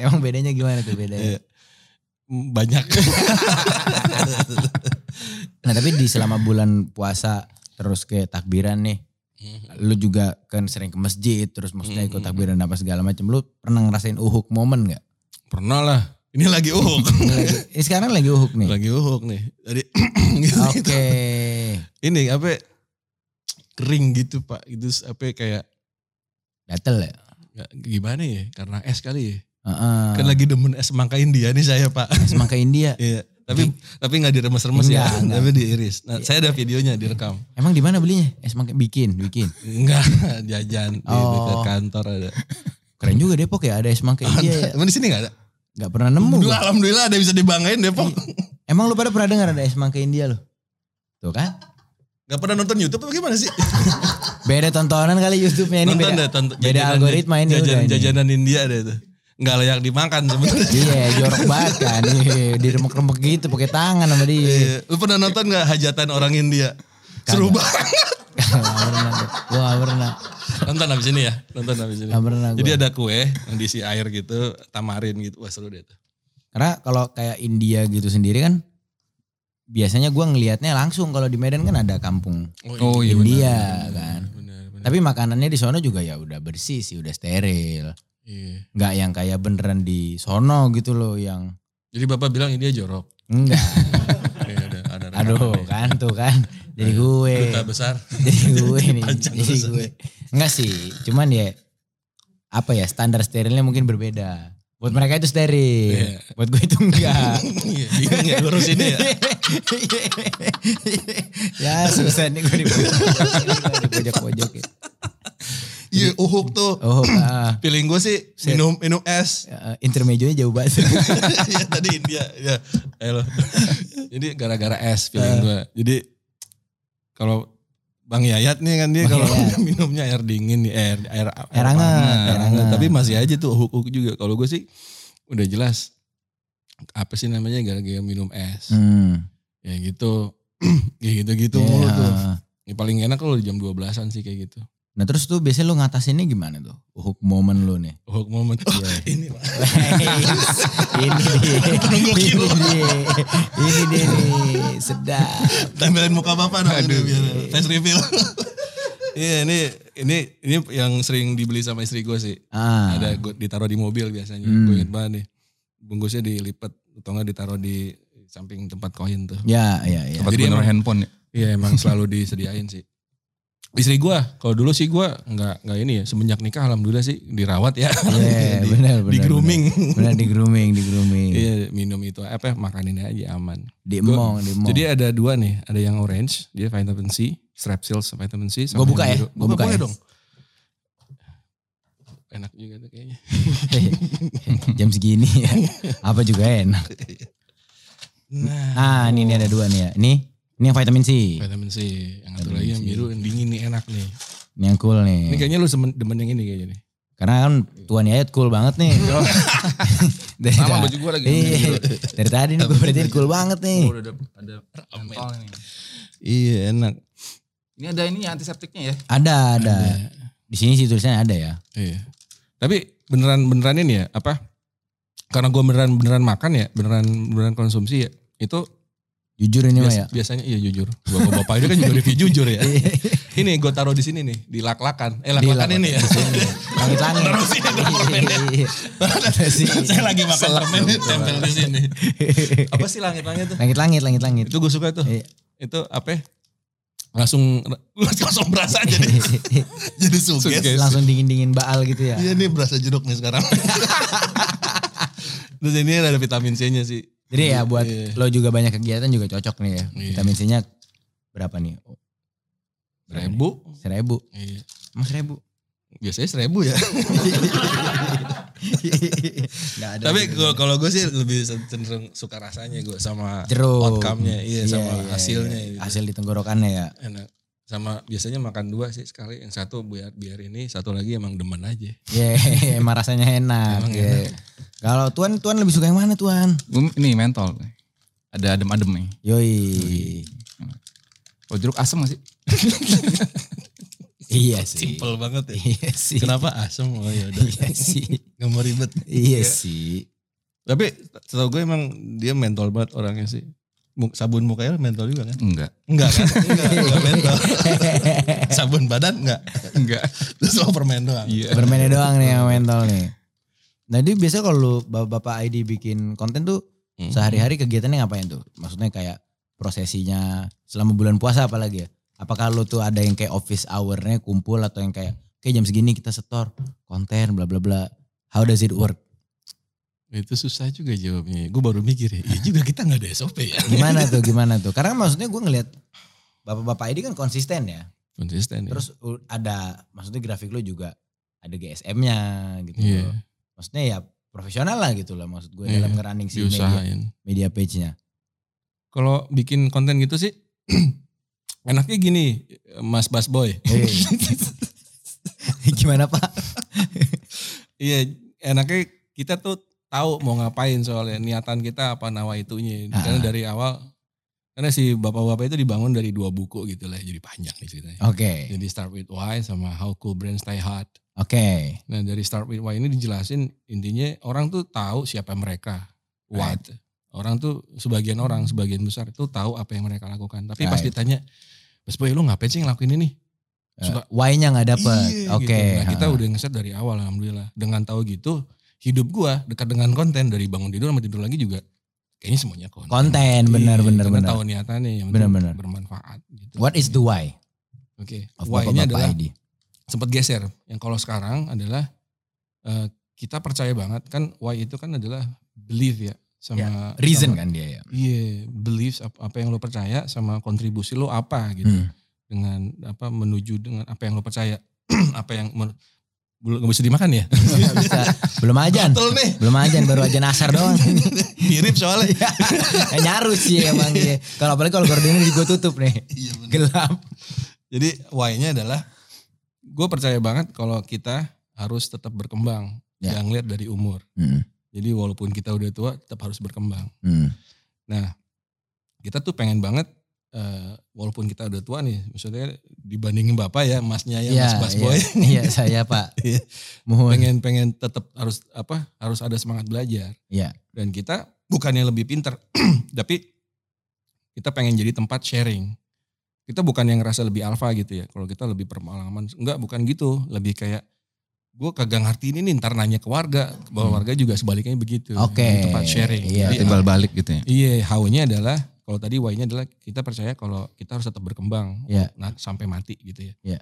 Emang bedanya gimana tuh bedanya?
Iya. Banyak.
Nah tapi di selama bulan puasa terus ke takbiran nih. Lu juga kan sering ke masjid terus maksudnya ikut
Mm-mm.
takbiran apa segala macam. Lu pernah ngerasain uhuk momen gak?
Pernah lah. Ini lagi uhuk.
Ini, lagi, ini sekarang lagi uhuk nih.
lagi uhuk nih. Jadi
Oke.
ini apa kering gitu pak itu apa kayak
Gatel ya?
nggak- gimana ya karena es kali ya
Heeh.
kan lagi demen es mangka India nih saya pak
Es mangka India.
iya tapi tapi nggak diremes-remes ya
Enggak, enggak.
tapi diiris nah saya ada videonya direkam
Emang di mana belinya? Es mangka bikin, bikin.
enggak jajan di dekat
Oh.
kantor ada
Keren juga Depok ya ada es mangka India ya.
emang di sini nggak ada
Gak pernah nemu.
Dulu
gua. Iya.
alhamdulillah ada bisa dibanggain Depok
Emang lu pada pernah dengar ada es mangka India loh? Tuh kan?
nggak pernah nonton YouTube apa gimana sih
Beda tontonan kali YouTube-nya ini beda.
nonton deh tonton,
beda algoritma ini
jajanan,
udah ini.
jajanan India deh itu nggak layak dimakan sebenarnya
Iya, jorok banget kan. Iya, Diremek-remek gitu pakai tangan sama dia.
Iya. Lu pernah nonton gak hajatan orang India? Seru banget.
Gak pernah. Gue gak pernah.
Nonton habis ini ya, nonton habis ini.
Gak pernah
Jadi
gua.
ada kue yang diisi air gitu, tamarin gitu. Wah seru deh tuh.
Karena kalau kayak India gitu sendiri kan. Biasanya gua ngelihatnya langsung. Kalau di Medan kan ada kampung.
Oh iya benar.
India kan.
Benar, benar.
Tapi makanannya di sono juga ya udah bersih sih. Udah steril.
Iya.
Gak yang kayak beneran di sono gitu loh. Yang
Jadi bapak bilang India jorok.
enggak.
Oke, ada, ada
Aduh
rekaman nih.
kan tuh kan. Jadi gue.
Duta besar.
jadi gue nih
Panjang
jadi
urusannya.
gue enggak sih cuman ya apa ya standar sterilnya mungkin berbeda buat mereka itu steril
Iya.
buat gue itu enggak
Iya, Bingung ya lurus ini ya.
ya susah nih gue di pojok pojok ya.
Iya, uhuk tuh.
oh ah.
Feeling gue sih minum minum es.
Eh, intermezzonya jauh banget
Iya tadi India. Ya. Ayo lo. Jadi gara-gara es feeling gue. Jadi kalau Bang Yayat nih kan dia
Bang
kalau
Yayat.
minumnya air dingin nih air air
Air hangat,
panas, Nah,
air hangat.
Tapi masih aja tuh huk-huk juga. Kalau gue sih udah jelas apa sih namanya gara-gara minum es.
hmm.
Ya gitu. ya gitu-gitu
Iya.
mulu tuh. Ya, paling enak kalau di jam 12-an sih kayak gitu.
nah terus tuh biasanya lo ngatasinnya gimana tuh hook momen lo nih
Hook moment. Oh, ini Pak.
ini dia
Nunggu
ini
kilo.
dia ini dia nih sedap
Tampilin muka Bapak dong ini biar face reveal. Iya ini ini ini yang sering dibeli sama istri gue sih.
Ah.
Ada gua- ditaruh di mobil biasanya.
Hmm.
Gue inget banget nih. Bungkusnya dilipat atau enggak ditaruh di samping tempat koin tuh.
Ya, ya, ya.
Tempat
Jadi
bener
emang-
handphone ya.
Iya emang selalu disediain sih. Istri gue, kalau dulu sih gue nggak nggak ini ya. Semenjak nikah alhamdulillah sih dirawat ya.
Iya,
Di-
benar, benar,
Di grooming.
Benar di grooming, di grooming.
Iya minum itu apa makanin aja aman.
Di
Gua-
emong, di emong.
Jadi ya. ada dua nih, ada yang orange, dia vitamin C, strepsils vitamin C.
Gua buka ya, gua
gue
buka
buka boleh
ya.
dong. Enak juga tuh kayaknya.
jam segini ya. Apa juga enak.
Nah,
Ah, ini, ini ada dua nih ya. Ini, ini yang vitamin C.
vitamin C. Yang satu
Vitamin
lagi yang
C. Iya.
biru, yang dingin nih enak nih.
Ini yang cool
Ini
nih.
kayaknya lu semen, demen yang ini kayaknya nih.
Karena kan Tuan Yayat cool banget nih.
Oh.
dari
Sama
ta-
baju gue lagi.
kan,
Iya, dari tadi nih gue berarti cool banget nih.
Oh, udah ada ada pentol ini.
Iya enak.
Ini ada ini ya antiseptiknya ya.
Ada, ada. Di sini sih tulisannya ada ya.
Iya. Tapi beneran beneran ini ya apa? Karena gue beneran beneran makan ya, beneran beneran konsumsi ya. Itu
Jujur ini mah
bias-
ya. Iya.
biasanya iya jujur. Bapak bapak ini kan juga review jujur ya. ini gue taruh di sini nih, di lak-lakan. Eh lak-lakan
Di-
ini ya.
di sini. Langit-langit.
Taruh sini, taruh permennya.
Iya, iya, iya.
Saya lagi makan permen tempel di sini.
ya.
Apa sih langit-langit tuh?
Langit-langit, langit-langit.
Itu gue suka tuh.
Iya.
Itu apa? ya? Langsung langsung berasa aja deh. Jadi
Terus langsung dingin-dingin baal gitu ya.
Iya nih berasa jeruk nih sekarang. Terus ini ada vitamin C-nya sih.
Jadi ya buat
Iya.
lo juga banyak kegiatan juga cocok nih ya.
Iya.
Vitamin C-nya berapa nih? Oh,
Seribu.
Seribu.
Iya.
Emang seribu?
Biasanya seribu ya.
Nggak ada.
Tapi gua- kalau gue sih lebih cenderung suka rasanya gue sama
jeruk.
outcome-nya. Iya, sama hasilnya.
iya.
gitu.
Hasil di tenggorokannya ya.
Enak. Sama biasanya makan dua sih sekali. Yang satu biar biar ini, satu lagi emang demen aja.
Iya, emang rasanya enak.
Emang
iya. Kalau tuan, tuan lebih suka yang mana tuan?
Gua- Ini mentol. Ada adem-adem nih.
Yoi.
Oh jeruk asem gak sih?
Iya sih.
Simpel banget ya.
Iya sih.
Kenapa asem? Oh ya udah.
Iya sih.
Gak mau ribet.
Iya sih.
Tapi setahu gue emang dia mentol banget orangnya sih. Mu- Sabun mukanya mentol juga kan?
Enggak.
Enggak kan? Enggak, enggak mentol. Sabun badan enggak?
Enggak.
Terus lo permen doang.
Iya.
Bermainnya doang nih yang mental nih. Nah, jadi biasanya kalau lu bapak-bapak ID bikin konten tuh
Hmm.
sehari-hari kegiatannya ngapain tuh? Maksudnya kayak prosesinya selama bulan puasa apalagi ya? Apakah lu tuh ada yang kayak office hour-nya kumpul atau yang kayak kayak jam segini kita setor konten bla bla bla. How does it work?
Itu susah juga jawabnya. Gue baru mikir ya, iya juga kita gak ada SOP ya.
Gimana tuh? Gimana tuh? Karena kan maksudnya gue ngelihat bapak-bapak ID kan konsisten ya.
Konsisten ya.
Terus u- ada maksudnya grafik lu juga ada GSM-nya gitu.
Iya,
loh. Maksudnya ya profesional lah gitu loh maksud gue
Iya,
dalam ngerunning si media
diusahain.
media page-nya.
Kalau bikin konten gitu sih, enaknya gini, Mas Basboy.
Hei. Gimana Pak?
Iya, enaknya kita tuh tahu mau ngapain soalnya niatan kita apa nawa itunya. Karena
Ah.
dari awal kan Karena si bapak-bapak itu dibangun dari dua buku gitu lah, jadi panjang nih ceritanya.
Oke.
Jadi Start With Why sama How Cool Brands Die Hard.
Oke.
Nah dari Start With Why ini dijelasin intinya orang tuh tahu siapa mereka. What. Orang tuh sebagian orang, sebagian besar tuh tahu apa yang mereka lakukan. Tapi pas
Right.
ditanya, Mas Boy lu ngapain sih ngelakuin ini? Suka-
Eh, Why-nya nggak dapet.
Iya,
Oke.
gitu. Nah, kita udah ngeset dari awal alhamdulillah. Dengan tahu gitu, hidup gua dekat dengan konten dari bangun tidur sama tidur lagi juga kayaknya semuanya konten.
konten
Iya,
benar benar
karena
benar.
Tahu niatannya yang
Benar,
penting
benar.
bermanfaat gitu.
What is the why
Oke.
of Bapak-Bapak
Why-nya adalah
Edi?
sempat geser. Yang kalau sekarang adalah eh, kita percaya banget kan why itu kan adalah belief ya sama
Reason
sama-
kan dia ya.
Iya, beliefs ap- apa yang lo percaya sama kontribusi lo apa gitu
Hmm.
dengan apa menuju dengan apa yang lo percaya apa yang men- belum nggak bisa dimakan ya
Bisa. Belum ajan.
Betul nih
Belum ajan baru ajan asar doang.
mirip soalnya
Ya, nyaru sih emang dia. Kalau apalagi kalau gordennya juga tutup nih. Gelap.
jadi why-nya adalah gue percaya banget kalau kita harus tetap berkembang
Ya.
jangan lihat dari umur jadi walaupun kita udah tua tetap harus berkembang kita tuh pengen banget eh, walaupun kita udah tua nih maksudnya dibandingin bapak ya masnya ya, mas mas boy
Iya, saya Pak.
Iya.
Mohon.
pengen pengen tetap harus apa harus ada semangat belajar
Iya.
dan kita bukannya lebih pinter tapi kita pengen jadi tempat sharing kita bukan yang ngerasa lebih alfa gitu ya kalau kita lebih berpengalaman enggak bukan gitu lebih kayak gue kagak ngerti ini nih ntar nanya ke warga bahwa
Hmm.
warga juga sebaliknya begitu
Oke.
Jadi tempat sharing
Iya.
Jadi,
timbal balik gitu ya.
Iya, how-nya adalah kalau tadi why-nya adalah kita percaya kalau kita harus tetap berkembang
Iya.
nah, sampai mati gitu ya.
Iya.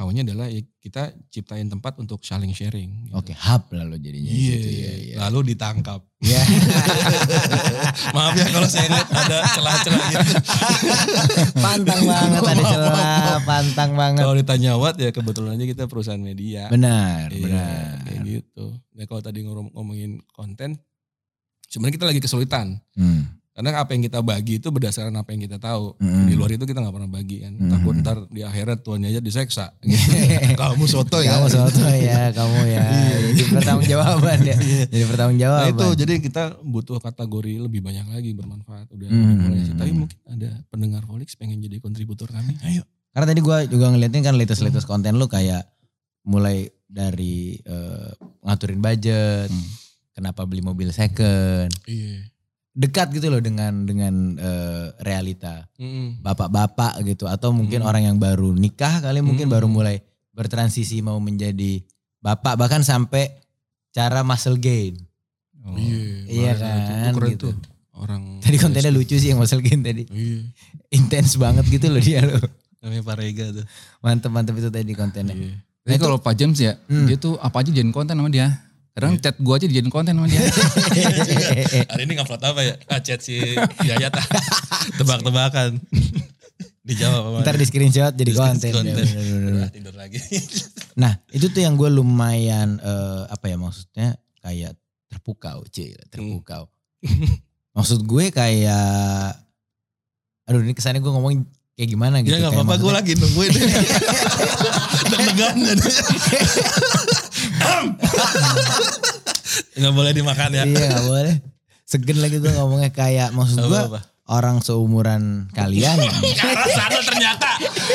How-nya adalah ya, kita ciptain tempat untuk saling sharing. gitu.
Oke, hub lalu jadinya.
Iya,
gitu, Iya. iya.
lalu ditangkap.
Iya.
Maaf ya kalau saya lihat ada celah-celah gitu.
Pantang banget ada celah, pantang banget.
Kalau ditanya what ya kebetulan aja kita perusahaan media.
Benar,
Iya,
benar.
Kayak gitu. Nah kalau tadi ngom- ngomongin konten, sebenarnya kita lagi kesulitan.
Hmm.
Karena apa yang kita bagi itu berdasarkan apa yang kita tahu.
Mm-mm.
Di luar itu kita nggak pernah bagi kan.
Mm-mm.
Takut ntar di akhirat tuannya aja diseksa. Gitu. Kamu soto ya.
Kamu soto ya, kamu ya. Jadi pertanggung jawaban ya. Jadi pertanggung
Nah itu
jawaban.
jadi kita butuh kategori lebih banyak lagi bermanfaat. Udah
Mm-mm.
mulai sih. Tapi mungkin ada pendengar Volix pengen jadi kontributor kami. Ayo.
Karena tadi gue juga ngeliatin kan latest-latest konten lu kayak mulai dari eh, ngaturin budget,
Hmm.
kenapa beli mobil second,
Iya.
dekat gitu loh dengan dengan eh, realita bapak-bapak gitu atau mungkin
Hmm.
orang yang baru nikah kali mungkin
Hmm.
baru mulai bertransisi mau menjadi bapak bahkan sampai cara muscle gain.
Oh.
Iya.
Iya
kemarin itu.
kan,
Itu keren
gitu.
tuh. Iya Orang.
Tadi kontennya lucu sih yang muscle gain tadi.
Iya.
Intens banget gitu loh dia loh.
Namanya Parega tuh.
Mantep-mantep itu tadi kontennya.
Iya.
Nah,
Tapi
itu-
kalau Pak James ya,
Hmm.
dia tuh apa aja jadiin konten sama dia. Kadang
Iya.
chat gua aja dijadiin konten sama dia.
Eh.
Hari ini ngupload apa ya? Ah, chat si Yayat. Tebak-tebakan. Dijawab apa?
Ntar di screenshot jadi
Di
konten.
screenshot
Ya,
konten.
bener-bener.
Udah tidur lagi.
Nah itu tuh yang gue lumayan eh, apa ya maksudnya kayak terpukau cil terpukau.
Hmm.
Maksud gue kayak aduh ini kesannya gue ngomong kayak gimana gitu.
Ya
kayak
gak apa-apa gue
maksudnya-
lagi nungguin. Deg-degan. gak boleh dimakan ya.
Iya gak boleh. Segen lagi gue ngomongnya kayak maksud
Gak
gue
apa-apa.
orang seumuran kalian.
Ke arah sana ternyata.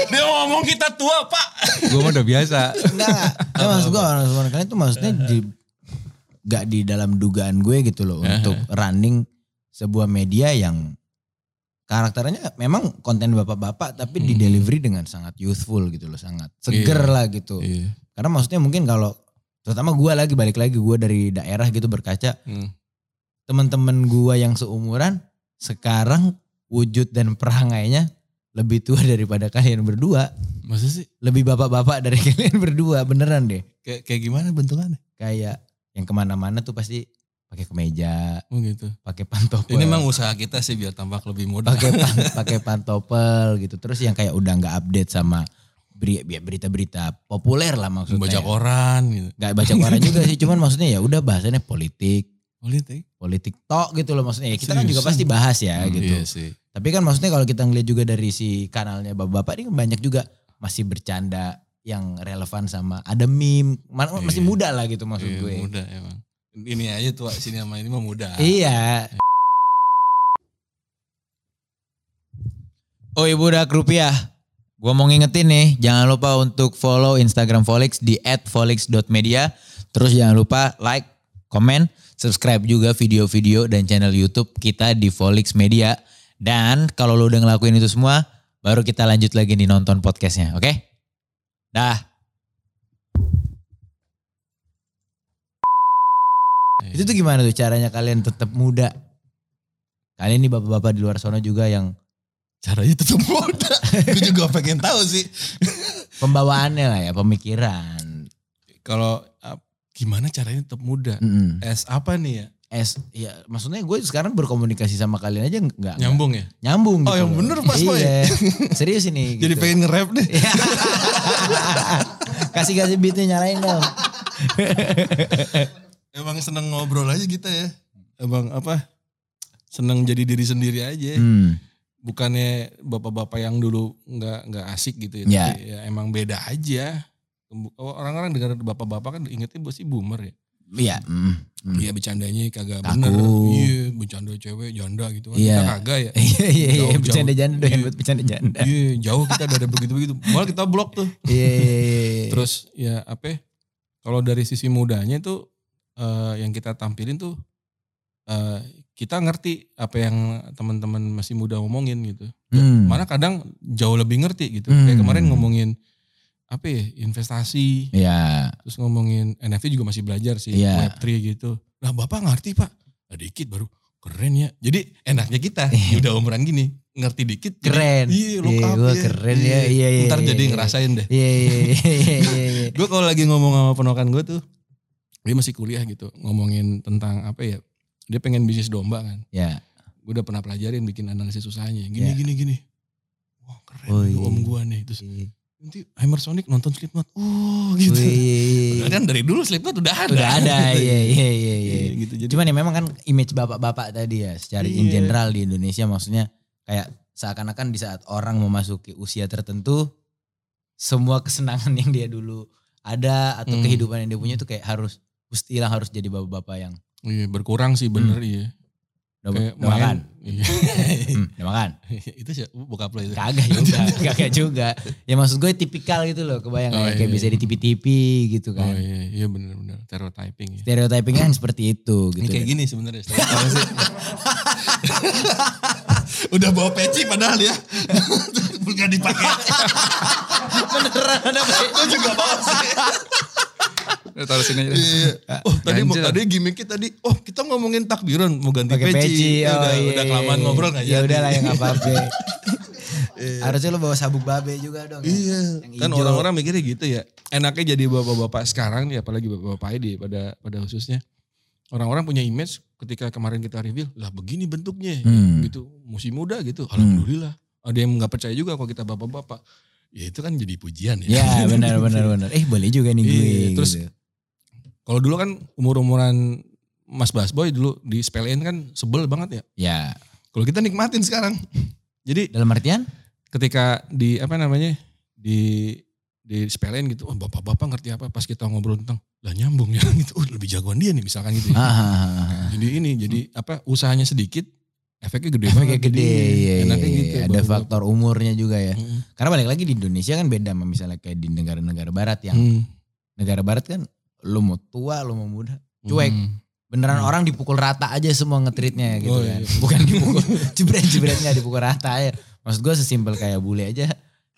Dia ngomong kita tua pak.
gua mah udah biasa.
Enggak, enggak. Enggak, Ya, maksud gue orang seumuran kalian tuh maksudnya
Eh,
di, gak di dalam dugaan gue gitu loh
Eh,
untuk running sebuah media yang karakternya memang konten bapak-bapak tapi di delivery dengan sangat youthful gitu loh sangat seger
Hmm. Iya.
lah gitu
Iya.
karena maksudnya mungkin kalau terutama gue lagi balik lagi gue dari daerah gitu berkaca teman-teman gue yang seumuran sekarang wujud dan perangainya lebih tua daripada kalian berdua
Masa sih?
lebih bapak-bapak dari kalian berdua beneran deh
Kayak, kayak gimana bentukannya?
kayak yang kemana-mana tuh pasti pakai kemeja,
Oh gitu.
pakai pantopel.
Ini memang usaha kita sih biar tampak lebih mudah.
pakai pan- pakai pantopel gitu. Terus yang kayak udah nggak update sama beri- ya berita-berita populer lah maksudnya. ya.
Baca koran gitu.
Nggak baca koran juga sih, cuman maksudnya ya udah bahasannya politik,
Politik.
politik tok gitu loh maksudnya. Ya, kita kan juga
Seriusan?
pasti bahas ya gitu.
Iya sih.
Tapi kan maksudnya kalau kita ngeliat juga dari si kanalnya bapak-bapak ini banyak juga masih bercanda yang relevan sama ada meme, Ma- masih
Iya.
muda lah gitu maksud
Iya,
gue.
Muda emang. Ini aja tua
Iya.
sini sama ini mah muda.
Iya. Oh ibu udah rupiah. Gua mau ngingetin nih, jangan lupa untuk follow Instagram Volix di @volix.media. Terus jangan lupa like, komen, subscribe juga video-video dan channel YouTube kita di Volix Media. Dan kalau lo udah ngelakuin itu semua, baru kita lanjut lagi nih nonton podcastnya, oke? Dah.
Iya.
Itu tuh gimana tuh caranya kalian tetap muda? Kalian nih bapak-bapak di luar sana juga yang
Caranya tetap muda. Gue juga pengen tahu sih.
pembawaannya lah ya, pemikiran.
Kalau ah, gimana caranya tetap muda?
Mm-mm.
Es apa nih ya?
Es, ya maksudnya gue sekarang berkomunikasi sama kalian aja nggak nggak
Nyambung ya?
nyambung
Oh,
gitu.
yang
loh.
bener, Mas Boy.
Iya. Serius ini.
Jadi
gitu.
pengen nge-rap deh.
kasih kasih beatnya nyalain dong.
Emang seneng ngobrol aja kita ya. Emang apa? Seneng jadi diri sendiri aja.
Hmm.
Bukannya bapak-bapak yang dulu nggak nggak asik gitu ya.
Ya.
Tapi ya emang beda aja. Orang-orang dengar bapak-bapak kan ingetnya pasti boomer ya.
Iya. mm, mm.
Iya bercandanya kagak
Kaku.
bener. Iya bercanda cewek janda gitu kan.
Iya.
Kita kagak ya.
Iya iya iya
Jauh,
bercanda
jauh.
janda doyan
Iya.
buat bercanda janda.
Iya jauh kita ada ada begitu-begitu. Malah kita blok tuh.
Iya iya iya.
Terus ya apa ya, Kalau dari sisi mudanya tuh eh, yang kita tampilin tuh eh, kita ngerti apa yang teman-teman masih muda ngomongin gitu.
Hmm.
Mana kadang jauh lebih ngerti gitu.
Hmm.
Kayak kemarin ngomongin apa ya investasi,
Iya.
terus ngomongin NFT juga masih belajar sih
Iya.
Web3 gitu. Nah bapak ngerti pak, nah, dikit baru keren ya. Jadi enaknya kita
Iya.
ya udah umuran gini ngerti dikit. jadi,
Keren.
Iya lo
Iya,
up
gua keren ya. Iya, iya,
Ntar
iya,
jadi
iya.
ngerasain deh.
Iya iya iya iya. iya.
Gue kalau lagi ngomong sama ponokan gue tuh, dia masih kuliah gitu ngomongin tentang apa ya. Dia pengen bisnis domba kan.
Ya.
Gue udah pernah pelajarin bikin analisis usahanya. Gini
Iya.
gini gini. Wah keren
Oh,
tuh
iya.
om gue nih. Terus
Iya.
nanti Hammersonic nonton Slipknot. Uh gitu.
Wih, iya, iya, iya.
Padahal kan dari dulu Slipknot udah ada.
Udah ada. Iya iya iya
Iya,
iya.
gitu. Jadi
Cuman ya memang kan image bapak-bapak tadi ya secara in
Iya.
general di Indonesia maksudnya kayak seakan-akan di saat orang memasuki usia tertentu semua kesenangan yang dia dulu ada atau
Hmm.
kehidupan yang dia punya itu kayak harus mesti hilang harus jadi bapak-bapak yang
iya, berkurang sih bener
Hmm.
iya.
udah,
Kayak
udah makan,
Iya.
Hmm, udah makan.
itu sih bokap lo itu.
Kagak juga, kagak juga. Ya maksud gue tipikal gitu loh, kebayang
Oh,
ya, kayak
iya,
bisa
iya.
di tipi-tipi gitu
Oh
kan.
iya, iya bener-bener stereotyping ya.
Stereotypingnya kan seperti itu
Ini
gitu.
kayak gini sebenarnya. stereotyping sih. Udah bawa peci padahal ya. Bukan dipakai.
Beneran ada
Gue juga bawa sih.
Udah, Taruh sini aja. Ah,
Iya.
ah,
Oh tadi mau
Ganjel.
tadi gimmicknya tadi. Oh kita ngomongin takbiran mau ganti
pakai
peci.
peci. Oh, iya,
Ya udah, udah
iya,
kelamaan
iya.
ngobrol nggak Iya.
Ya
jadi.
udah lah ya nggak apa-apa. Harusnya lo bawa sabuk babe juga dong. ya.
Iya.
Yang
Kan
hijau.
orang-orang mikirnya gitu ya. Enaknya jadi bapak-bapak sekarang nih apalagi bapak-bapak di pada pada khususnya. Orang-orang punya image ketika kemarin kita review lah begini bentuknya
Hmm.
gitu. Musim muda gitu. Alhamdulillah. Ada yang nggak percaya juga kalau kita bapak-bapak. Ya itu kan jadi pujian ya.
Ya benar benar benar. Eh boleh juga nih gue.
Iya, terus
gitu.
Kalau dulu kan umur-umuran Mas Basboy dulu di spellin kan sebel banget ya.
ya
Kalau kita nikmatin sekarang. Jadi
dalam artian
ketika di apa namanya di di sepelein gitu, oh, bapak-bapak ngerti apa pas kita ngobrol tentang lah nyambung ya gitu, oh, lebih jagoan dia nih misalkan gitu. ya.
ah, ah, ah, ah.
jadi ini jadi apa usahanya sedikit efeknya gede
efeknya
banget.
gede.
Jadi,
iya,
enaknya
iya,
gitu.
iya. Ada
bapak-bapak.
faktor umurnya juga ya.
Mm.
Karena balik lagi di Indonesia kan beda sama misalnya kayak di negara-negara barat yang
Mm.
negara barat kan lu mau tua, lu mau muda. Cuek.
Mm.
Beneran
Hmm.
orang dipukul rata aja semua ngetritnya gitu
Oh,
kan.
iya.
Bukan dipukul jebret-jebret nggak dipukul rata ya. Maksud gue sesimpel kayak bule aja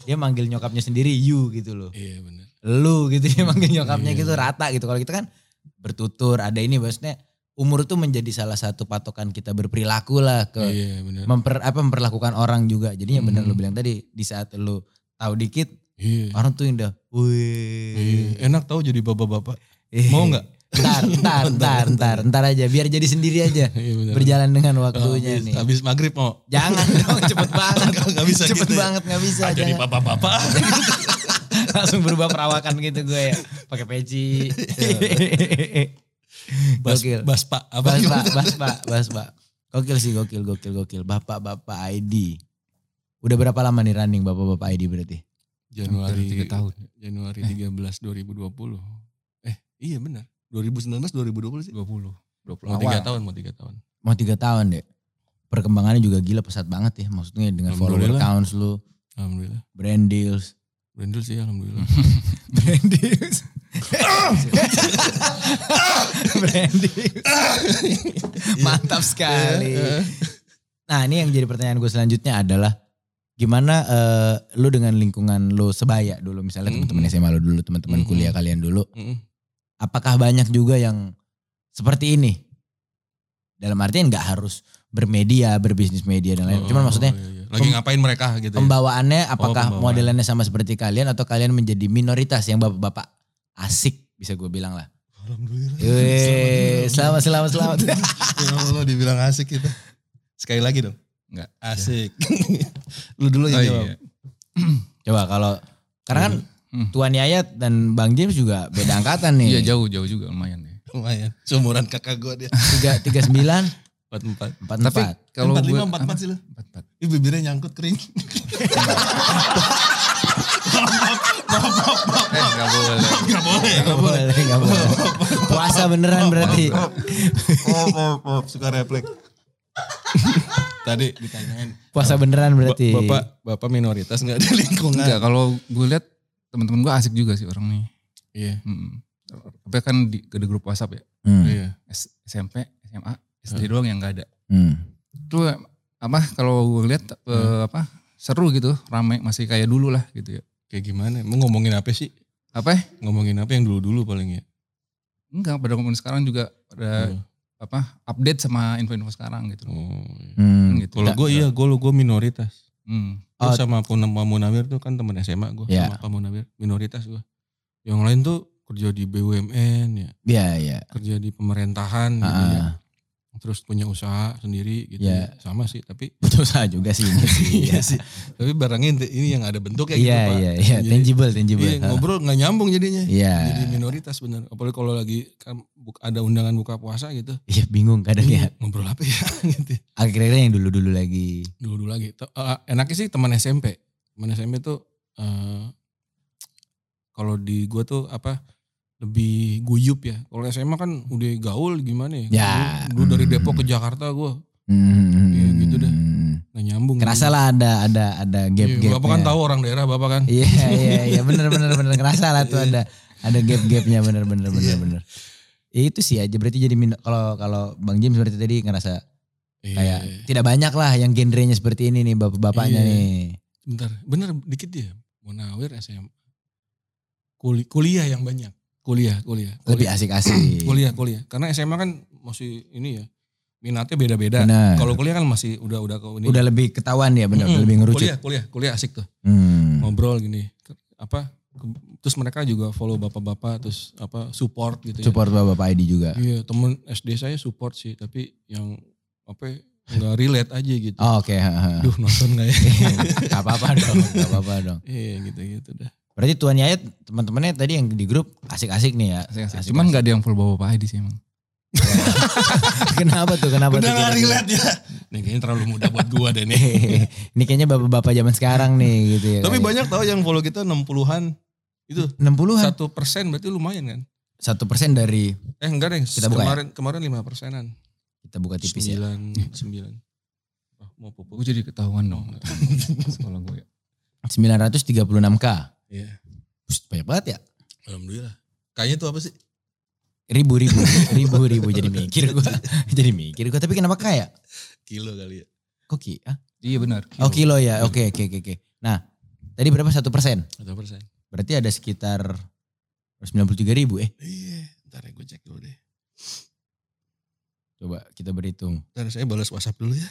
dia manggil nyokapnya sendiri you gitu loh.
Iya benar.
Lu gitu dia manggil nyokapnya
Iya.
gitu rata gitu. Kalau kita kan bertutur ada ini maksudnya umur tuh menjadi salah satu patokan kita berperilaku lah ke
Iya benar.
memper apa memperlakukan orang juga. Jadi yang benar
Hmm.
lu bilang tadi di saat lu tahu dikit
Iya.
orang tuh yang udah
Iya.
wih.
Enak tahu jadi bapak-bapak. Iya. Mau nggak?
Ntar, ntar, ntar, ntar, ntar aja. Biar jadi sendiri aja.
Iya benar.
Berjalan dengan
Kalau
waktunya
habis,
nih.
habis maghrib mau.
Jangan dong, cepet banget.
Nggak bisa
cepet
gitu ya.
banget, nggak bisa.
Ah, jadi
jangan.
bapak-bapak.
Langsung berubah perawakan gitu gue ya. Pakai peci.
Bas,
Gokil.
bas pak. Apa
Bas,
gitu?
Pak, bas, Pak, bas, Pak. Gokil sih, gokil, gokil, gokil. Bapak, Bapak ID. Udah berapa lama nih running Bapak, Bapak ID berarti?
Januari
Hampir tiga tahun.
Januari 13 2020. Eh, iya benar. 2019 2020 sih.
20. 20
Mau
awal.
tiga tahun, mau tiga tahun.
Mau tiga tahun deh. perkembangannya juga gila pesat banget ya. Maksudnya dengan follower
Alhamdulillah.
counts lu,
Alhamdulillah.
brand deals.
Brandel sih alhamdulillah.
Brand deals. brand deals. Mantap sekali. Nah ini yang jadi pertanyaan gue selanjutnya adalah gimana eh, lu dengan lingkungan lu sebaya dulu misalnya
Mm-mm.
teman-teman SMA lu dulu teman-teman
Mm-mm.
kuliah kalian dulu
Mm-mm.
apakah banyak juga yang seperti ini dalam artian nggak harus bermedia berbisnis media dan lain
Oh,
cuman maksudnya
iya, iya. lagi
pem-
ngapain mereka gitu. ya?
pembawaannya apakah
pembawaan.
modelannya sama seperti kalian atau kalian menjadi minoritas yang bapak-bapak asik bisa gue bilang lah
Alhamdulillah.
Weh, selamat selamat selamat
Ya Allah dibilang asik kita. Sekali lagi dong.
Enggak.
Asik. Lu dulu yang
Oh,
jawab.
iya.
coba kalau karena kan
Hmm.
Tuan Yayat dan Bang James juga beda angkatan nih
Iya jauh jauh juga lumayan ya.
Lumayan. Seumuran kakak gue dia.
tiga tiga sembilan
44.
empat
Tapi
empat
kalau
empat
gue
lima empat empat sih lu.
empat empat.
Ih bibirnya nyangkut kering.
Eh nggak boleh.
Gak boleh.
Nggak boleh nggak boleh puasa beneran
Iya.
berarti
Oh, oh, oh, suka refleks. Tadi ditanyain.
puasa beneran berarti
Bapak, bapak minoritas nggak di lingkungan.
Enggak kalau gue lihat teman-teman gue asik juga sih orang nih.
Iya.
Hmm. Tapi kan di ada grup WhatsApp ya.
Hmm,
Iya.
S- SMP, SMA, SD doang yang nggak ada.
hmm.
Itu eh, apa kalau gue lihat eh,
Hmm.
apa seru gitu, rame masih kayak dulu lah gitu ya.
Kayak gimana? Mau ngomongin apa sih?
Apa? ya?
Ngomongin apa yang dulu-dulu paling ya?
Enggak, pada momen sekarang juga
Eh.
ada apa update sama info-info sekarang gitu.
Oh, iya.
Hmm.
Kan gitu.
Kalau gue iya, gue gue minoritas.
Hmm.
Gue
Oh.
sama Pun- Pak Munawir tuh kan teman SMA gue
Iya.
sama Pak Munawir minoritas gue. Yang lain tuh kerja di BUMN ya,
Iya, iya.
kerja di pemerintahan gitu ya.
Ah,
Terus punya usaha sendiri gitu.
Iya.
ya. Sama sih, tapi
Butuh usaha juga sih ini sih.
iya sih. Tapi barangnya inti- ini yang ada bentuknya gitu,
Iya,
Pak.
iya, iya.
Jadi-
Tangible, tangible.
Iya, ngobrol nggak nyambung jadinya.
Iya.
Jadi minoritas bener. Apalagi kalau lagi kan bu- ada undangan buka puasa gitu.
Iya, bingung kadang ya.
Ini Ngobrol apa ya gitu.
Akhirnya yang dulu-dulu lagi.
dulu dulu lagi Te- eh, enaknya sih teman SMP teman SMP tuh eh, kalau di gua tuh apa lebih guyup ya kalau SMA kan udah gaul gimana ya,
Ya,
dulu, dulu dari
hmm.
Depok ke Jakarta gua
Hmm,
Iya, gitu dah. nggak nyambung
Kerasa lah ada ada ada
gap
gap-gap.
bapak kan tahu orang daerah bapak kan
Iya, iya, iya. Bener, bener, bener. Kerasa lah tuh ada ada gap-gapnya bener, bener, bener,
Iya.
bener. Ya itu sih aja berarti jadi minor- kalau kalau Bang James berarti tadi ngerasa kayak
Iya.
tidak banyak lah yang genrenya seperti ini nih bapak-bapaknya
Iya.
nih.
bentar bener dikit dia Munawir SMA Kuli- kuliah yang banyak kuliah kuliah
Lebih
kuliah
asik-asik.
kuliah kuliah karena SMA kan masih ini ya minatnya beda-beda
Bener.
kalau kuliah kan masih udah udah ke ini
Udah lebih ketahuan ya bener,
Mm-mm.
udah lebih ngerucut.
Kuliah, Oh, kuliah, kuliah asik tuh.
Hmm.
Ngobrol gini. Ke- Apa? ke- Terus mereka juga follow bapak-bapak terus apa support gitu ya.
Support bapak-bapak ID juga.
Iya, temen SD saya support sih, tapi yang apa ya, nggak relate aja gitu.
Oh, Oke, heeh.
Duh, nonton nggak ya?
Gak apa-apa dong, gak apa-apa dong.
Iya, gitu-gitu dah.
Berarti Tuan Yayat teman-temannya tadi yang di grup asik-asik nih ya.
Asik-asik.
Asik-asik.
Cuman nggak ada yang full bawa Pak Edi sih emang.
kenapa tuh? Kenapa tuh?
nggak
kira-kira?
ya. Nih kayaknya terlalu muda buat gua deh nih.
Hehehe. Ini kayaknya bapak-bapak zaman sekarang nih gitu ya.
tapi banyak tau yang follow kita 60-an. Itu
60-an.
satu persen berarti lumayan kan?
Satu persen dari
Eh enggak deh,
Kita buka ya?
kemarin kemarin lima persenan.
kita buka tipis ya.
Sembilan, sembilan. Oh, mau
Gue
pupuk.
jadi ketahuan dong. Sekolah gue.
ya?
936K.
Iya.
Pust, banyak banget ya.
Alhamdulillah. Kayaknya itu apa sih?
Ribu-ribu, ribu-ribu jadi mikir gua. jadi mikir gua, tapi kenapa kaya?
Kilo kali ya.
Kok ki? ah?
Iya benar.
Oh kilo ya, oke oke oke. oke. Nah, tadi berapa satu persen?
Satu persen.
Berarti ada sekitar 93 ribu eh.
Iya. Ntar ya gue cek dulu deh.
Coba kita berhitung.
Ntar saya balas WhatsApp dulu ya.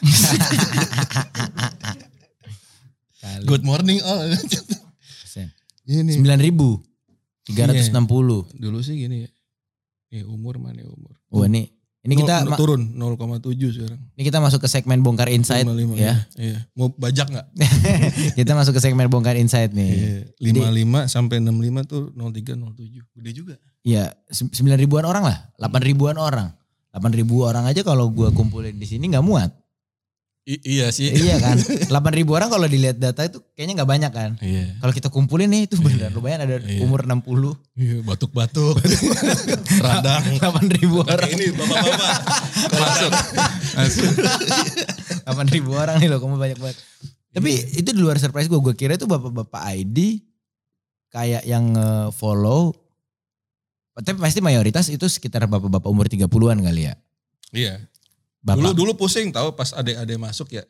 Kali
Good morning oh. all.
persen.
Ini.
9 ribu. 360.
Dulu sih gini ya. Ya umur mana ya umur.
Wah ini, ini
Nol-
kita, ma-
nol- turun 0,7 sekarang.
ini kita masuk ke segmen bongkar insight.
55,
ya.
Iya. Mau bajak nggak?
kita masuk ke segmen bongkar insight
Iya.
nih.
Lima lima sampai enam lima tuh 03 07. Gede juga.
Ya, se- 9 ribuan orang lah, 8 ribuan orang. 8 ribu orang aja kalau gua kumpulin di sini nggak muat.
iya sih.
iya kan? 8 ribu orang kalau dilihat data itu kayaknya nggak banyak kan?
Iya.
Kalau kita kumpulin nih itu benar lumayan ada
Iya.
umur 60,
Iya, batuk-batuk. Radang.
8 ribu orang.
Ini bapak-bapak.
Masuk. Masuk.
8 ribu orang nih loh, kamu banyak banget. Tapi
Iya.
itu di luar surprise gue. Gue kira itu bapak-bapak ID kayak yang eh, follow. Tapi pasti mayoritas itu sekitar bapak-bapak umur 30-an kali ya.
Iya. Dulu
Bapak.
dulu pusing tahu pas adek-adek masuk ya.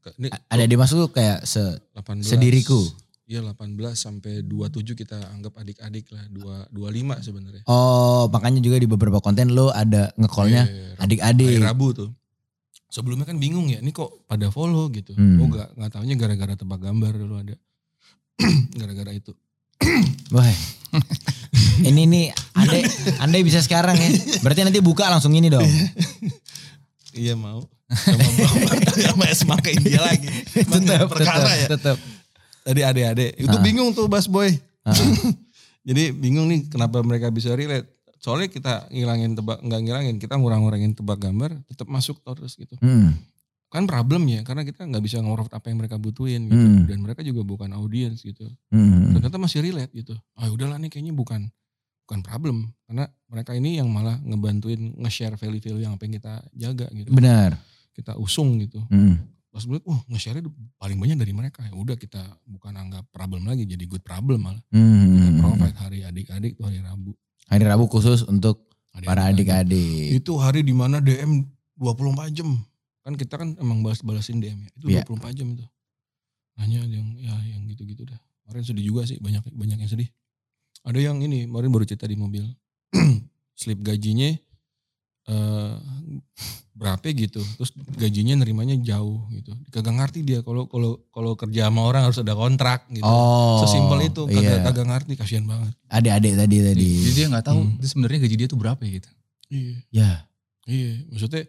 Ke- Ini
Ada dia masuk kayak se
18.
sediriku.
Iya 18 sampai 27 kita anggap adik-adik lah. Dua- 25 sebenarnya.
Oh, makanya juga di beberapa konten lo ada ngekolnya
Iya, Hari
adik-adik.
Rabu tuh. Sebelumnya kan bingung ya, ini kok pada follow gitu.
Hmm.
Oh gak, gak taunya gara-gara tebak gambar dulu ada. gara-gara itu.
Wah. ini nih andai andai bisa sekarang ya. Berarti nanti buka langsung ini dong.
Iya mau. Sama Bang sama Esma ke India lagi. Emang
tetap,
perkara ya.
tetap, tetap.
Tadi adek-adek. Itu
Ah.
bingung tuh Bas Boy.
Heeh.
Jadi bingung nih kenapa mereka bisa relate. Soalnya kita ngilangin tebak, nggak ngilangin, kita ngurang-ngurangin tebak gambar, tetap masuk terus gitu.
Hmm,
Kan problem ya, karena kita nggak bisa ngorot apa yang mereka butuhin gitu.
hmm,
Dan mereka juga bukan audiens gitu.
hmm.
ternyata masih relate gitu. Ah udahlah nih kayaknya bukan bukan problem karena mereka ini yang malah ngebantuin nge-share value-value yang pengen kita jaga gitu.
Benar.
Kita usung gitu.
Hmm.
Pas gue liat, wah nge-share paling banyak dari mereka. Ya udah kita bukan anggap problem lagi jadi good problem malah. Kita
Hmm.
provide hari adik-adik tuh hari Rabu.
Hari Rabu khusus untuk para adik-adik.
Iya, Itu hari dimana DM 24 jam. Kan kita kan emang balas-balasin DM ya. Itu
Iya.
24 jam itu. Hanya yang ya yang gitu-gitu dah. Kemarin sedih juga sih banyak banyak yang sedih. Ada yang ini kemarin baru cerita di mobil. Slip gajinya eh berapa gitu. Terus gajinya nerimanya jauh gitu. Kagak ngerti dia kalau kalau kalau kerja sama orang harus ada kontrak gitu.
Oh.
Sesimpel itu kagak
Iya.
kagak ngerti kasihan banget.
Adik-adik tadi tadi.
Jadi dia nggak tahu
Hmm.
dia sebenarnya gaji dia tuh berapa ya gitu.
Iya.
Ya.
Iya, maksudnya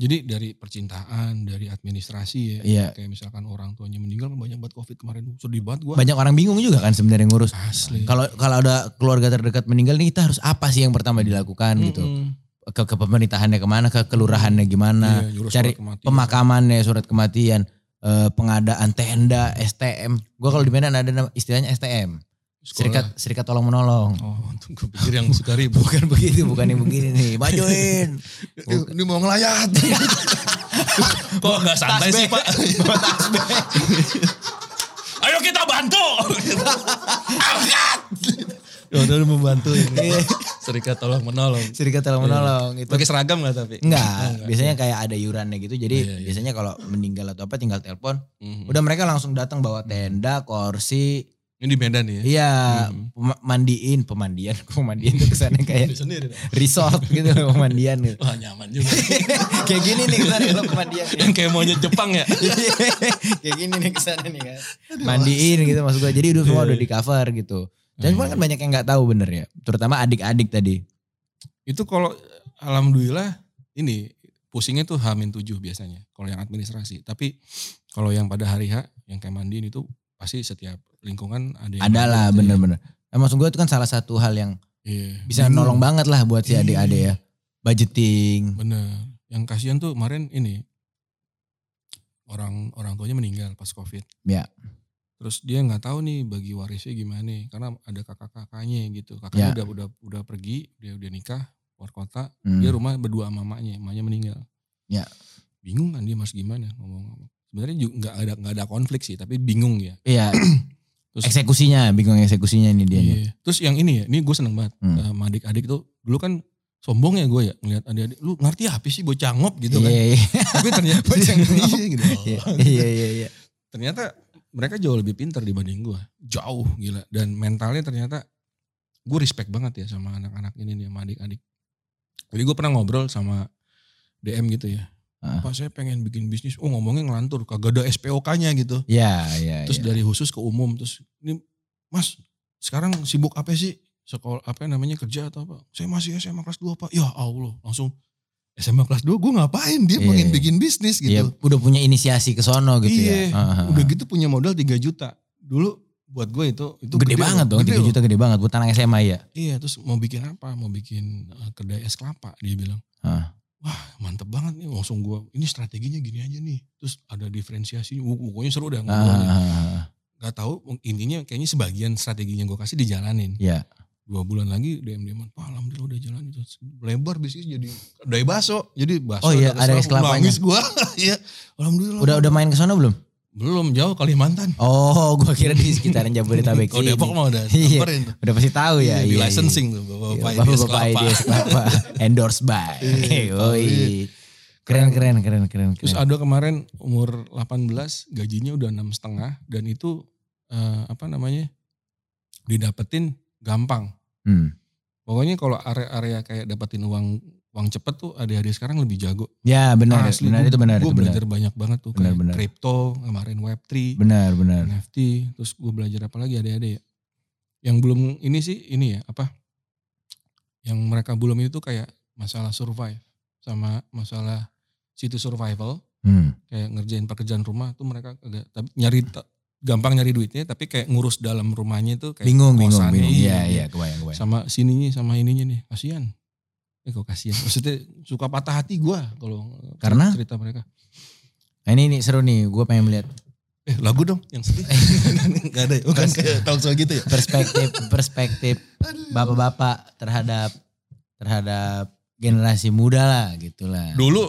jadi dari percintaan, dari administrasi ya.
Iya.
Kayak misalkan orang tuanya meninggal kan banyak banget covid kemarin. Sedih banget gue.
Banyak orang bingung juga kan sebenarnya ngurus.
Asli.
Kalau kalau ada keluarga terdekat meninggal nih kita harus apa sih yang pertama dilakukan gitu?
Mm-mm.
Ke, ke pemerintahannya kemana? Ke kelurahannya gimana?
Iya, nyuruh
Nah, cari
surat kematian.
Pemakamannya surat kematian, eh, pengadaan tenda, STM. Gua kalau di Medan ada nama- istilahnya STM.
Sekolah.
Serikat Serikat Tolong Menolong.
Oh, untung gue pikir yang suka ribut.
Bukan
Gitu,
begitu, bukan yang begini nih. Majuin.
Ini mau ngelayat. Kok gak santai sih pak? Ayo kita bantu. Angkat. Ya udah lu membantu ini. Serikat tolong menolong.
Iya. Serikat Tolong Menolong itu.
Pakai seragam gak tapi?
Enggak, biasanya kayak ada iurannya gitu. Jadi
Iya, iya.
biasanya kalau meninggal atau apa tinggal telepon.
Mhm.
Udah mereka langsung datang bawa tenda, kursi.
Ini di Medan ya?
Iya, pema- mandiin, pemandian, pemandian tuh kesannya kayak
sendiri.
resort gitu loh pemandian gitu.
Wah nyaman juga.
kayak gini nih kesannya kalau pemandian. nih.
yang kayak monyet Jepang ya.
kayak gini nih kesannya nih kan. Mandiin gitu maksud gue. Jadi udah semua udah di cover gitu. Dan cuman kan banyak yang nggak tahu bener ya. Terutama adik-adik tadi.
Itu kalau alhamdulillah ini pusingnya tuh Hamin 7 biasanya. Kalau yang administrasi. Tapi kalau yang pada hari H yang kayak mandiin itu pasti setiap lingkungan ada yang
Adalah
mandiin.
bener-bener. Nah, maksud gue itu kan salah satu hal yang
Iya.
bisa
Bingung.
nolong banget lah buat si
Iya.
adik-adik ya. Budgeting.
Bener. Yang kasihan tuh kemarin ini orang orang tuanya meninggal pas covid.
Ya.
Terus dia nggak tahu nih bagi warisnya gimana nih, karena ada kakak-kakaknya gitu.
Ya.
Kakaknya udah udah udah pergi, dia udah nikah, keluar kota.
Hmm.
Dia rumah berdua sama mamanya, mamanya meninggal.
Ya.
Bingung kan dia mas gimana ngomong. Sebenarnya juga nggak ada nggak ada konflik sih, tapi bingung ya.
Iya.
Terus-
eksekusinya, bingung eksekusinya ini dia.
Iya. Terus yang ini ya, ini gue seneng banget.
Hmm.
Eh, sama adik-adik tuh dulu kan sombong ya gue ya ngeliat adik-adik, lu ngerti apa sih bocah ngop gitu kan.
Iya, iya.
Tapi ternyata
Bocah ngop.
Iya, gitu.
Iya, iya, iya.
ternyata mereka jauh lebih pintar dibanding gue. Jauh gila. Dan mentalnya ternyata gue respect banget ya sama anak-anak ini nih sama adik-adik. Jadi gue pernah ngobrol sama DM gitu ya.
Ah.
Pak saya pengen bikin bisnis. Oh ngomongnya ngelantur. Kagak ada SPOK-nya gitu.
Iya, iya.
Terus
iya.
dari khusus ke umum. Terus ini mas sekarang sibuk apa sih? Sekolah apa namanya kerja atau apa? Saya masih SMA kelas 2 pak. Ya Allah langsung SMA kelas 2 gue ngapain? Dia
Iya,
pengen
iya.
bikin bisnis gitu.
Iya, udah punya inisiasi ke sono gitu
Iya,
ya. Heeh.
Udah gitu punya modal 3 juta. Dulu buat gue itu itu
gede, banget dong,
Gede
3 juta gede banget buat anak SMA ya.
Iya, terus mau bikin apa? Mau bikin eh, kedai es kelapa dia bilang.
Hah.
Wah, mantep banget nih langsung gue. Ini strateginya gini aja nih. Terus ada diferensiasinya. Wuh, Pokoknya
Ah,
seru dah ngobrolnya.
Heeh.
Gak tahu intinya kayaknya sebagian strateginya gue kasih dijalanin.
Iya.
dua bulan lagi DM DM pak alhamdulillah udah jalan itu lebar bisnis jadi dai baso jadi baso
Oh iya, ada es
kesel,
kelapanya.
nangis gua iya alhamdulillah
Udah udah main ke sana belum?
belum jauh Kalimantan
Oh, gua kira di sekitaran Jabodetabek
kalau
sini.
Depok mah Oh, udah
Iya.
samperin tuh
Udah pasti tahu ya.
di
iya, iya.
licensing tuh
Iya,
bapak bapak
Bapak-bapak IDS Kelapa. Endorse by.
Iya,
Yoi.
iya.
Keren, keren, keren, keren.
Terus
keren.
ada kemarin umur 18 gajinya udah enam setengah dan itu eh, apa namanya didapetin gampang.
Hmm.
Pokoknya kalau area-area kayak dapetin uang uang cepet tuh adik-adik sekarang lebih jago.
Ya benar,
Asli,
benar
Ah, gua-
itu benar,
Gue
itu benar.
belajar banyak banget tuh
Benar,
kayak
benar.
crypto kemarin Web3,
Benar, benar.
NFT. Terus gue belajar apa lagi adik-adik ya. Yang belum ini sih ini ya apa? Yang mereka belum itu kayak masalah survive sama masalah situs survival
Hmm.
kayak ngerjain pekerjaan rumah tuh mereka agak tapi nyari ta- gampang nyari duitnya tapi kayak ngurus dalam rumahnya itu kayak
Bingung, bingung,
kosannya,
bingung.
iya,
Iya,
iya.
iya, kebayang, kebayang.
sama sininya sama ininya nih kasihan eh kok kasihan maksudnya suka patah hati gua kalau cer-
Karena?
cerita mereka
Nah, ini, ini seru nih, gue pengen melihat
eh lagu dong yang sedih nggak ada ya? bukan kayak talk show gitu ya
perspektif perspektif bapak-bapak terhadap terhadap generasi muda lah gitulah.
dulu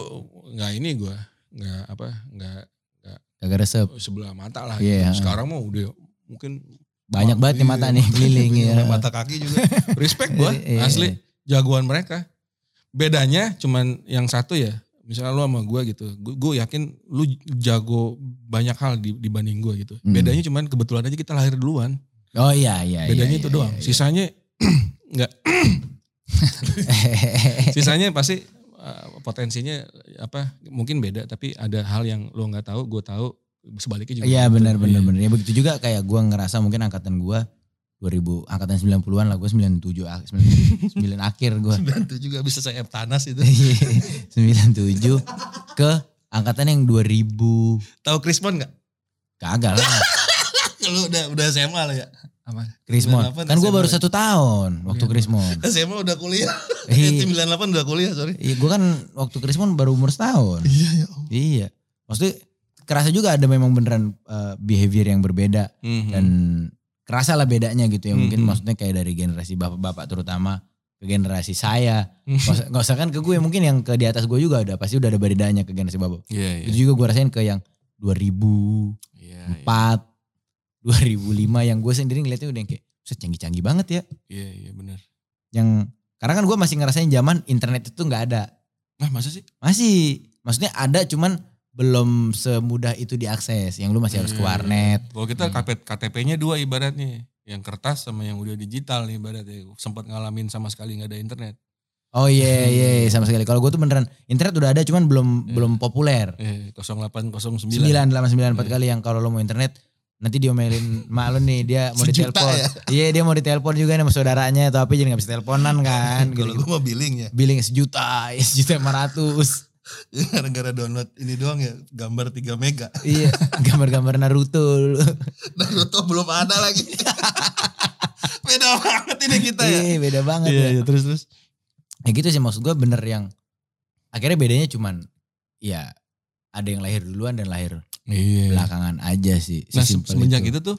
nggak ini gua nggak apa nggak
Kagak resep.
sebelah mata lah
Iya.
gitu. sekarang mah udah mungkin
Banyak
Iya,
banget nih mata nih keliling ya.
mata kaki juga respect gua
Iya,
asli
iya.
jagoan mereka. Bedanya cuman yang satu ya, misalnya lu sama gua gitu, gu- gua yakin lu jago banyak hal di- dibanding gua gitu.
Hmm.
Bedanya cuman kebetulan aja kita lahir duluan.
Oh iya iya.
Bedanya
iya,
itu
iya,
doang.
iya.
Sisanya nggak,
iya.
sisanya pasti uh, potensinya apa mungkin beda tapi ada hal yang lu nggak tahu, gua tahu sebaliknya juga.
Iya
gitu.
benar benar
Iya.
benar. Ya begitu juga kayak gua ngerasa mungkin angkatan gua 2000 angkatan 90-an lah gua ah, 97 ak- 99 akhir gua.
Dan itu juga bisa saya tanas itu.
Iya. 97 ke angkatan yang 2000
Tahu Krismon nggak?
kagak lah.
Lu udah udah SMA lah ya.
Apa?
Krismon.
98
Kan gua baru
Desember.
satu tahun waktu Krismon.
SMA udah kuliah. Eh,
Iya.
98 udah kuliah, sorry.
Iya, gue kan waktu Krismon baru umur setahun.
Iya, ya.
iya. Maksudnya kerasa juga ada memang beneran eh, behavior yang berbeda
Hmm.
dan kerasa lah bedanya gitu ya. Mungkin
Mhm.
maksudnya kayak dari generasi bapak-bapak terutama ke generasi saya. Nggak usah- nggak usah kan ke gue mungkin yang ke di atas gue juga udah pasti udah ada bedanya ke generasi bapak.
Iya, iya.
Itu juga gue rasain ke yang 2004,
Iya,
2005 yang gue sendiri ngeliatnya udah yang kayak "Buset, canggih-canggih banget ya.
iya, iya benar.
Yang karena kan gue masih ngerasain zaman internet itu nggak ada.
Nah, masa sih?
Masih. Maksudnya ada cuman belum semudah itu diakses. Yang lu masih harus ke
Iya,
warnet. Hmm.
Kalau kita KP- KTP-nya dua ibaratnya, yang kertas sama yang udah digital nih ibaratnya. Sempat ngalamin sama sekali nggak ada internet.
Oh iya iya iya, sama sekali. Kalau gue tuh beneran internet udah ada cuman belum
Iya.
belum populer.
Eh, 0809.
989 empat
Iya.
kali yang kalau lo mau internet nanti diomelin mak lo nih dia mau
Sejuta
ditelepon.
ya.
Iya dia mau ditelepon juga nih sama saudaranya atau apa jadi gak bisa teleponan kan.
Kalau
Gitu.
gue mah billing ya,
Billing sejuta, ya, sejuta lima ratus.
Iya, gara-gara download ini doang ya, gambar 3 mega.
iya gambar-gambar Naruto. dulu.
Naruto belum ada lagi. Beda banget ini kita ya.
Iya beda banget ya.
Iya, iya, terus terus.
ya gitu sih maksud gue bener yang akhirnya bedanya cuman ya ada yang lahir duluan dan lahir
Iya.
belakangan aja sih
Nah, se-
sesimpel
semenjak itu, tuh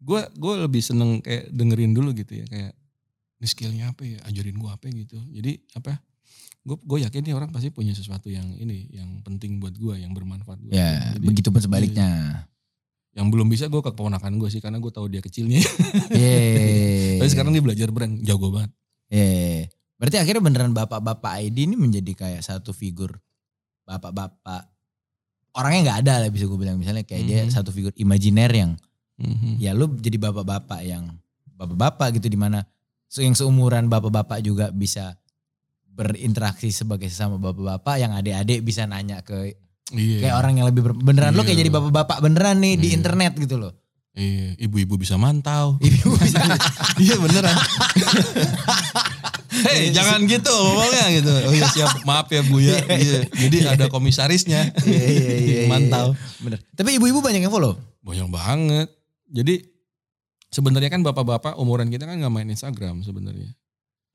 gue gue lebih seneng kayak dengerin dulu gitu ya kayak ini skillnya apa ya ajarin gue apa gitu jadi apa gue gue yakin nih orang pasti punya sesuatu yang ini yang penting buat gue yang bermanfaat
ya
buat gua. Iya, Jadi,
begitu pun sebaliknya
yang belum bisa gue ke keponakan gue sih karena gue tahu dia kecilnya
Yeay.
Iya. tapi sekarang dia belajar brand jago banget
Yeay. berarti akhirnya beneran bapak-bapak ID ini menjadi kayak satu figur bapak-bapak orangnya nggak ada lah bisa gue bilang misalnya kayak dia
Mhm.
satu figur imajiner yang
Mhm.
ya lu jadi bapak-bapak yang bapak-bapak gitu dimana yang seumuran bapak-bapak juga bisa berinteraksi sebagai sesama bapak-bapak yang adik-adik bisa nanya ke
iya
kayak orang yang lebih ber- beneran lu kayak
Iya.
jadi bapak-bapak beneran nih di
Iya.
internet gitu loh
iya ibu-ibu bisa mantau
ibu bisa
iya beneran
eh,
Hei jangan gitu ngomongnya gitu. Oh iya siap maaf ya Bu ya. Iya. Jadi ada komisarisnya.
Iya, iya, iya, iya.
Mantau.
bener tapi ibu-ibu banyak yang follow
Banyak banget. Jadi sebenarnya kan bapak-bapak umuran kita kan nggak main Instagram sebenarnya.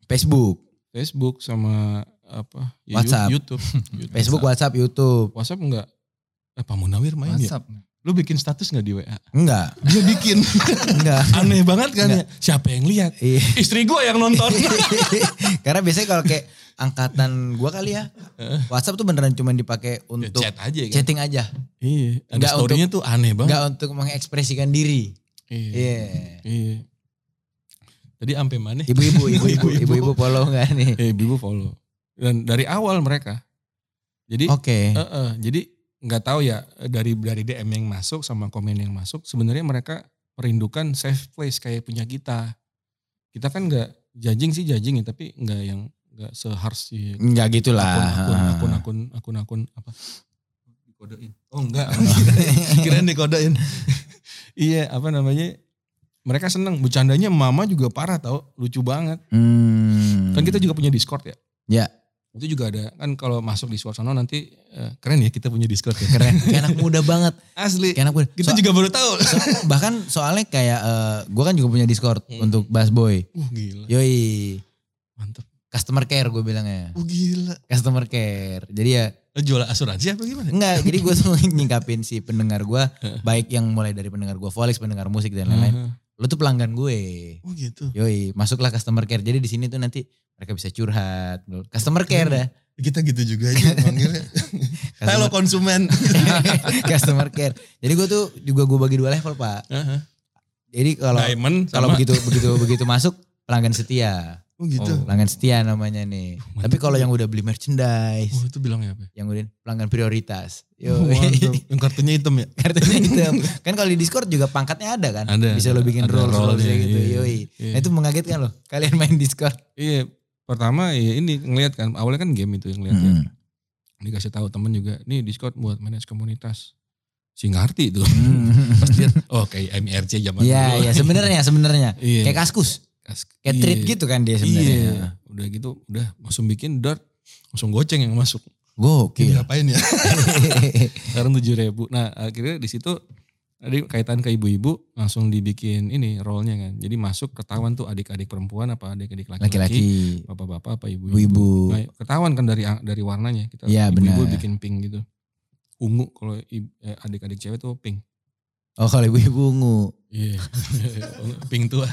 Facebook
Facebook sama apa? ya,
WhatsApp.
YouTube. YouTube.
Facebook WhatsApp YouTube
WhatsApp enggak? Eh Pak Munawir main ya?
WhatsApp.
Lu bikin status gak di WA?
Enggak,
Dia bikin.
enggak.
Aneh banget kan ya. Siapa yang lihat?
Iya.
Istri gue yang nonton.
Karena biasanya kalau kayak angkatan gua kali ya, WhatsApp tuh beneran cuman dipakai
Ya,
untuk
chat aja kan.
chatting aja,
Iya. Ada
Nggak
story-nya tuh aneh banget.
enggak untuk mengekspresikan diri.
Iya.
Iya.
Iya. Tadi ampe mana?
Ibu-ibu, ibu-ibu, ibu-ibu follow enggak nih?
Eh, ibu follow. Dan dari awal mereka. Jadi
Oke.
Eh, eh, jadi nggak tahu ya dari dari DM yang masuk sama komen yang masuk sebenarnya mereka merindukan safe place kayak punya kita. Kita kan nggak judging sih judging ya tapi nggak yang nggak seharus di
Enggak gitulah.
akun
Ah.
akun akun akun akun apa dikodein. Oh enggak. Kirain dikodein. iya, apa namanya? Mereka seneng, bercandanya mama juga parah tau, lucu banget.
Hmm.
Kan kita juga punya Discord ya.
Ya.
Itu juga ada, kan kalau masuk di Suarsono nanti eh, keren ya kita punya Discord ya.
keren, kayak anak muda banget,
Asli.
kayak anak muda.
Kita
So-
juga baru tahu.
so- bahkan soalnya kayak gue kan juga punya Discord
Hmm.
untuk Bass Boy.
Uh, gila.
Yoi,
Mantap.
customer care gue bilangnya.
Uh, gila.
Customer care. Jadi ya
Lo Eh, Jual asuransi apa gimana?
Enggak, jadi gue tuh nyingkapin si pendengar gue, baik yang mulai dari pendengar gue, Volix, pendengar musik dan lain-lain.
Heeh.
Lu tuh pelanggan gue.
Ah, Oh gitu.
Yoi, masuklah customer care. Jadi di sini tuh nanti mereka bisa curhat. Customer care dah.
Hmm.
Kita gitu juga aja manggilnya. Halo
Customer,
konsumen.
customer care. Jadi gue tuh juga gue bagi dua level, Pak.
Heeh.
Jadi kalau
Diamond
kalau
sama-
begitu begitu begitu masuk pelanggan setia.
Oh gitu.
Pelanggan setia namanya nih.
mantap.
Tapi kalau yang udah beli merchandise,
Oh itu bilangnya apa? ya?
yang udah pelanggan prioritas.
Oh, mantap.
Yoi.
Yang kartunya hitam ya?
kartunya hitam. kan kalau di Discord juga pangkatnya ada kan.
Ada,
bisa lo
ada.
bikin
Ada
role lo bisa
role-nya,
gitu.
iya.
Yoi.
Iya.
Nah itu mengagetkan loh. Kalian main Discord.
Iya. Pertama ya ini ngelihat kan. Awalnya kan game itu yang ngelihat
Hmm.
ya. Dikasih tahu temen juga. Nih Discord buat manage komunitas. Si ngerti itu. Pas lihat. Oh kayak MRC
Hmm. Mm-hmm.
zaman
Iya,
dulu.
iya sebenarnya sebenarnya.
Iya.
Kayak kaskus,
Kas-
kayak
iya.
treat gitu kan dia
Iya.
sebenarnya.
Udah gitu. Udah langsung bikin dart. Langsung goceng yang masuk. Iya.
Gokil.
Ngapain ya?
sekarang tujuh ribu. Nah akhirnya di situ tadi kaitan ke ibu-ibu langsung dibikin ini role-nya kan. Jadi masuk ketahuan tuh adik-adik perempuan apa adik-adik laki-laki,
Laki-laki,
bapak-bapak apa ibu-ibu.
ibu-ibu.
Nah, ketahuan kan dari dari warnanya kita
Iya,
ibu-ibu
benar.
bikin pink gitu. Ungu kalau i- eh, adik-adik cewek tuh pink.
Oh kalau ibu-ibu ungu.
Iya. pink tua.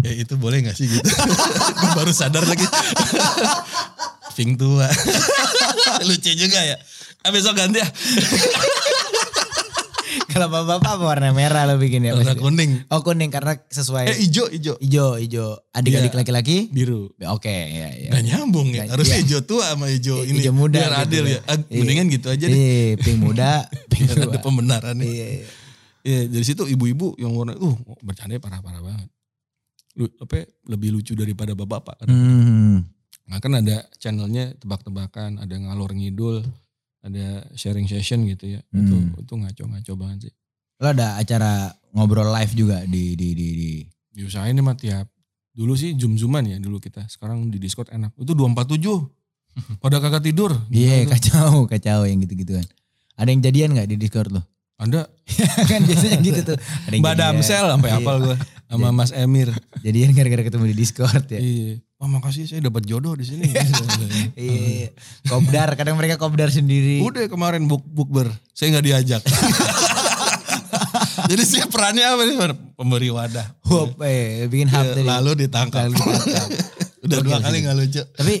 Ya itu boleh gak sih gitu?
Gua baru sadar lagi. pink tua.
Lucu juga ya.
Ah, besok ganti ya.
kalau bapak-bapak apa warna merah lo bikin ya?
Warna
pasti?
kuning.
Oh kuning karena
Eh
sesuai
hijau hijau.
ijo ijo adik-adik
Iya.
laki-laki.
Biru.
Oke, ya ya.
Gak nyambung ya.
Nggak-
Harusnya
iya.
hijau tua sama hijau ini.
Ijo muda
Biar
gitu
adil
kan.
ya. Ah,
Iya.
Mendingan gitu aja deh.
Iya, pink muda, pink
Biar ada
tua.
pembenaran nih.
Iya, iya.
Iya, dari situ ibu-ibu yang warna uh bercandanya parah-parah banget. Lu, apa ya, lebih lucu daripada bapak-bapak.
Hmm.
Nah, kan ada channelnya tebak-tebakan, ada ngalor ngidul, ada sharing session gitu ya. Itu
Hmm.
itu ngaco-ngaco banget sih.
Lo ada acara ngobrol live juga di di di di.
Diusahain nih mah tiap dulu sih zoom-zooman ya dulu kita. Sekarang di Discord enak. Itu 247. Pada kagak tidur.
Iya
Gila tuh.
kacau kacau yang gitu gituan. Ada yang jadian nggak di Discord lo?
Ada
kan biasanya gitu tuh. Ada yang
Mbak
jadian.
Damsel sampai
Iya.
apal gue sama Mas Emir.
Jadian gara-gara ketemu di Discord ya.
Iya. Wah makasih saya dapat jodoh di sini.
Iya. Kopdar, kadang mereka kopdar sendiri.
Hmm. Iya. Udah kemarin buk bukber, saya nggak diajak. Jadi saya perannya apa nih? Pemberi wadah. Iya,
Hop, eh, bikin hub tadi.
Lalu
Lalu
ditangkap.
ditangkap.
Udah
Oke,
dua
oke.
kali gak lucu.
Tapi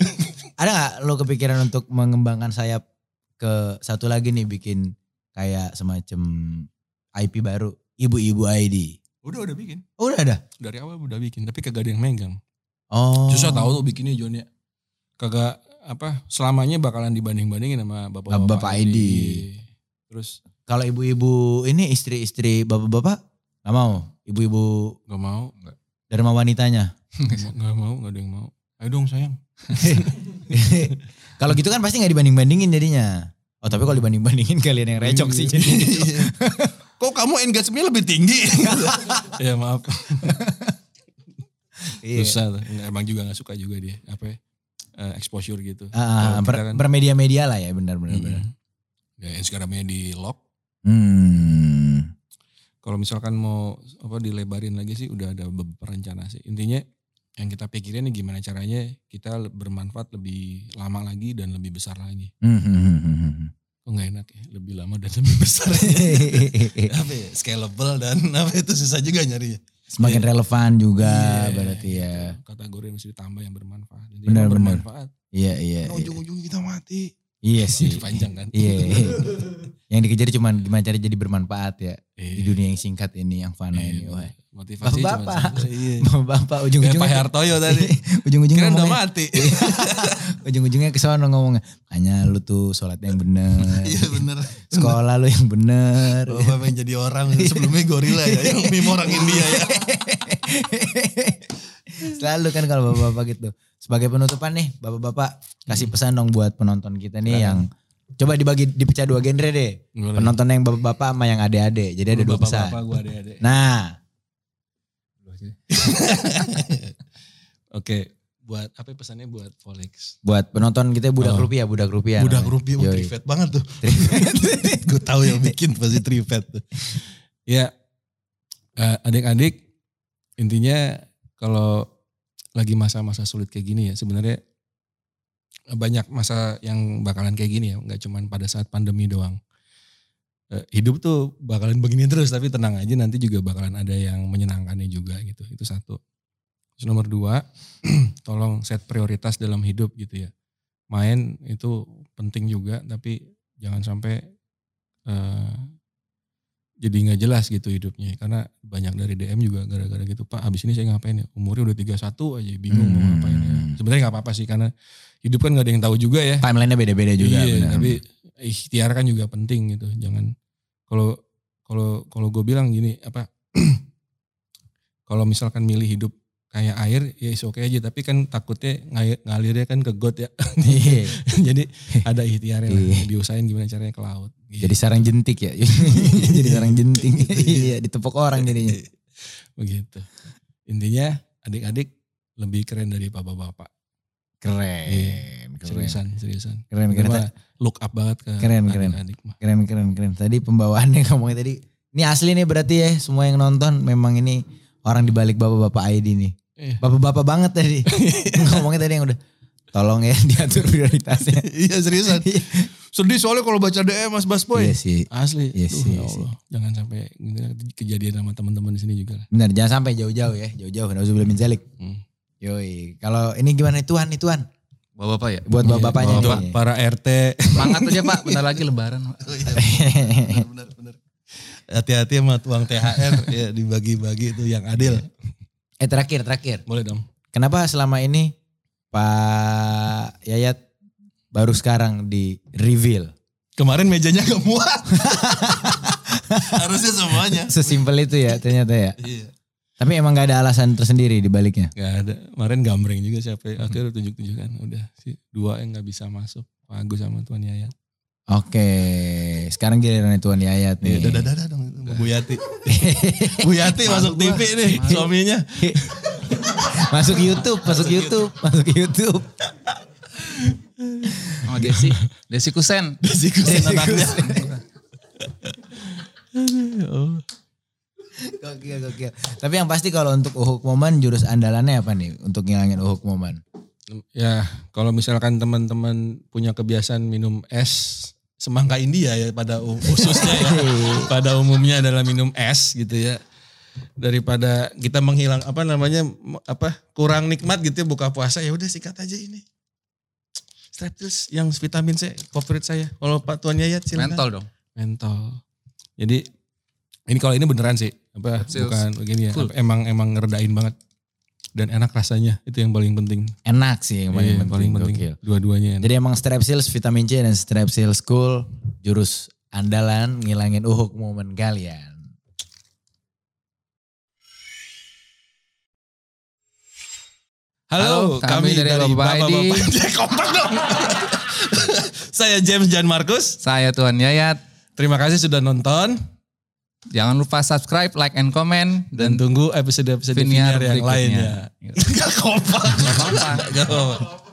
ada nggak lo kepikiran untuk mengembangkan sayap ke satu lagi nih bikin kayak semacam IP baru, ibu-ibu ID.
Udah udah bikin.
Oh, udah ada.
Dari awal udah bikin, tapi kagak ada yang megang.
Oh.
Susah tahu tuh bikinnya Jon ya. Kagak apa selamanya bakalan dibanding-bandingin sama bapak-bapak
Bapak ID.
Terus
Kalau ibu-ibu ini istri-istri bapak-bapak nggak mau. Ibu-ibu
nggak mau, nggak
dharma wanitanya.
nggak mau, nggak mau, nggak ada yang mau. Ayo dong sayang.
kalau gitu kan pasti nggak dibanding-bandingin jadinya. Oh tapi kalau dibanding-bandingin kalian yang recok sih jadi.
Iya. Kok kamu engagement lebih tinggi? ya maaf.
Iya.
Susah tuh. Nggak, emang juga gak suka juga dia. Apa ya? eh, exposure gitu.
Ah, ah,
Kalau
per,
kita kan-
bermedia-media lah ya benar-benar. benar.
Mm-mm. Ya, Instagramnya di lock.
Hmm.
Kalau misalkan mau apa dilebarin lagi sih udah ada beberapa rencana sih. Intinya yang kita pikirin nih gimana caranya kita le- bermanfaat lebih lama lagi dan lebih besar lagi.
Hmm, hmm, hmm, hmm, hmm.
Kalau Oh nggak enak ya, lebih lama dan lebih besar. apa ya, scalable dan apa itu susah juga nyarinya.
Semakin relevan juga
Iya.
berarti ya.
Kategori yang mesti ditambah yang bermanfaat. Jadi
Benar,
yang
benar.
bermanfaat.
Iya iya. Iya,
Nah, ujung-ujungnya kita mati.
iya sih.
Jadi panjang kan.
Iya. iya. yang dikejar cuman gimana cara jadi bermanfaat ya di
Iya.
dunia yang singkat ini yang fana ini.
Iya,
Wah.
Motivasi cuma
Bapak-bapak.
satu. Iya.
Bapak
Kayak Pak
ujung-ujungnya Iya,
Hartoyo tadi.
ujung-ujungnya
Kira udah
ngomongnya,
mati.
ujung-ujungnya ke sono ngomongnya. Hanya lu tuh sholat yang bener.
Iya bener.
Sekolah lu yang bener.
Oh,
Bapak pengen jadi orang
Iya.
sebelumnya gorila ya, yang meme orang India ya.
Selalu kan kalau bapak-bapak gitu. Sebagai penutupan nih, bapak-bapak kasih pesan dong buat penonton kita nih yang coba dibagi dipecah dua genre deh.
Boleh.
Penonton yang bapak-bapak sama yang adik-adik. Jadi ada dua pesan.
Bapak-bapak gue adik-adik.
Nah,
Dua aja.
Oke, buat apa ya pesannya buat Folex?
buat penonton kita budak
Oh.
rupiah, budak rupiah.
Budak
namanya.
rupiah, oh,
Yoi.
trivet banget tuh. Gue tahu yang bikin pasti trivet tuh.
Ya, eh, adik-adik, intinya kalau lagi masa-masa sulit kayak gini ya, sebenarnya banyak masa yang bakalan kayak gini ya, nggak cuman pada saat pandemi doang. Eh, hidup tuh bakalan begini terus, tapi tenang aja nanti juga bakalan ada yang menyenangkannya juga gitu. Itu satu. Terus nomor dua, tolong set prioritas dalam hidup gitu ya. Main itu penting juga, tapi jangan sampai eh, jadi nggak jelas gitu hidupnya. Karena banyak dari DM juga gara-gara gitu, Pak abis ini saya ngapain ya? Umurnya udah 31 aja, bingung mau
Hmm.
ngapain ya. Sebenarnya nggak apa-apa sih, karena hidup kan nggak ada yang tahu juga ya.
Timeline-nya beda-beda juga.
iya,
benar.
tapi ikhtiar kan juga penting gitu. Jangan kalau kalau kalau gue bilang gini apa kalau misalkan milih hidup kayak air ya is oke aja tapi kan takutnya ngay- ngalirnya kan ke got ya
Iya.
jadi ada ikhtiarnya lah
Iya.
diusahain gimana caranya ke laut Gitu.
jadi sarang jentik ya. jadi sarang jentik. iya, ditepok orang jadinya.
Iya. begitu intinya adik-adik lebih keren dari bapak-bapak Iya.
Keren, keren.
seriusan seriusan
Keren,
Kita
keren.
mah look up banget ke
Keren, keren.
adik-adik mah
Keren keren keren. Tadi pembawaannya ngomongnya tadi. Ini asli nih berarti ya semua yang nonton memang ini orang di balik bapak-bapak ID nih.
Iya.
Bapak-bapak banget tadi. ngomongnya tadi yang udah tolong ya diatur prioritasnya.
Iya seriusan.
sedih soalnya kalau baca DM mas Basboy
Iya sih.
Asli.
Iya
Duh,
sih,
ya
iya sih.
Allah. Jangan sampai gitu, kejadian sama teman-teman di sini juga lah.
Benar, jangan sampai jauh-jauh ya, jauh-jauh. Nauzubillah min zalik. Yoi, kalau ini gimana Tuhan nih Tuhan?
Bapak-bapak ya.
Buat
Iya,
bapak-bapaknya
Untuk
nih.
para RT.
Semangat aja Pak, bentar lagi lebaran. Pak.
Oh, iya, bener, bener, bener. Hati-hati sama tuang THR ya dibagi-bagi itu yang adil.
eh terakhir, terakhir.
Iya, Boleh dong.
Kenapa selama ini Pak Yayat baru sekarang di reveal?
Kemarin mejanya gak muat.
Harusnya semuanya.
Sesimpel itu ya ternyata ya.
Iya.
Tapi emang gak ada alasan tersendiri di baliknya.
Gak ada. Kemarin gambreng juga siapa. ya. Akhirnya tunjuk-tunjukkan. Udah sih. Dua yang gak bisa masuk. Pak Agus sama Tuan Yayat.
Oke, sekarang giliran Tuan Yayat nih.
Iya,
Dadah dadah dong itu sama Bu Yati. Bu Yati masuk TV nih suaminya.
masuk YouTube, masuk YouTube, masuk YouTube.
Sama Desi. Desi Kusen.
Sikusin anaknya.
Oh.
Gokil, gokil. Tapi yang pasti kalau untuk Uhuk Momen jurus andalannya apa nih untuk ngilangin Uhuk Momen?
Ya kalau misalkan teman-teman punya kebiasaan minum es. Semangka India ya pada u- khususnya ya. pada umumnya adalah minum es gitu ya. daripada kita menghilang apa namanya m- apa kurang nikmat gitu ya buka puasa ya udah sikat aja ini strepsils yang vitamin C favorit saya kalau Pak Tuan Yayat silakan mentol,
Mentol dong.
jadi ini kalau ini beneran sih apa
Strepsils.
bukan begini ya
Full.
apa, emang emang ngeredain banget dan enak rasanya itu yang paling penting
Enak sih yang paling
Iya,
penting.
paling penting.
gokil.
dua-duanya enak.
Jadi emang Strepsils vitamin C dan Strepsils Cool jurus andalan ngilangin Uhuk Momen kalian.
Halo, kami, dari,
Bapak
Bapak-Bapak
ID.
Panjai Kompak dong. saya James Jan Markus
Saya Tuhan Yayat.
terima kasih sudah nonton
Jangan lupa subscribe, like, and comment.
dan
Dan
tunggu episode-episode Viniar
Viniar
yang ya.
berikutnya.
lainnya
Gitu.
Gak kompak.
Gak apa-apa.
Gak kompak.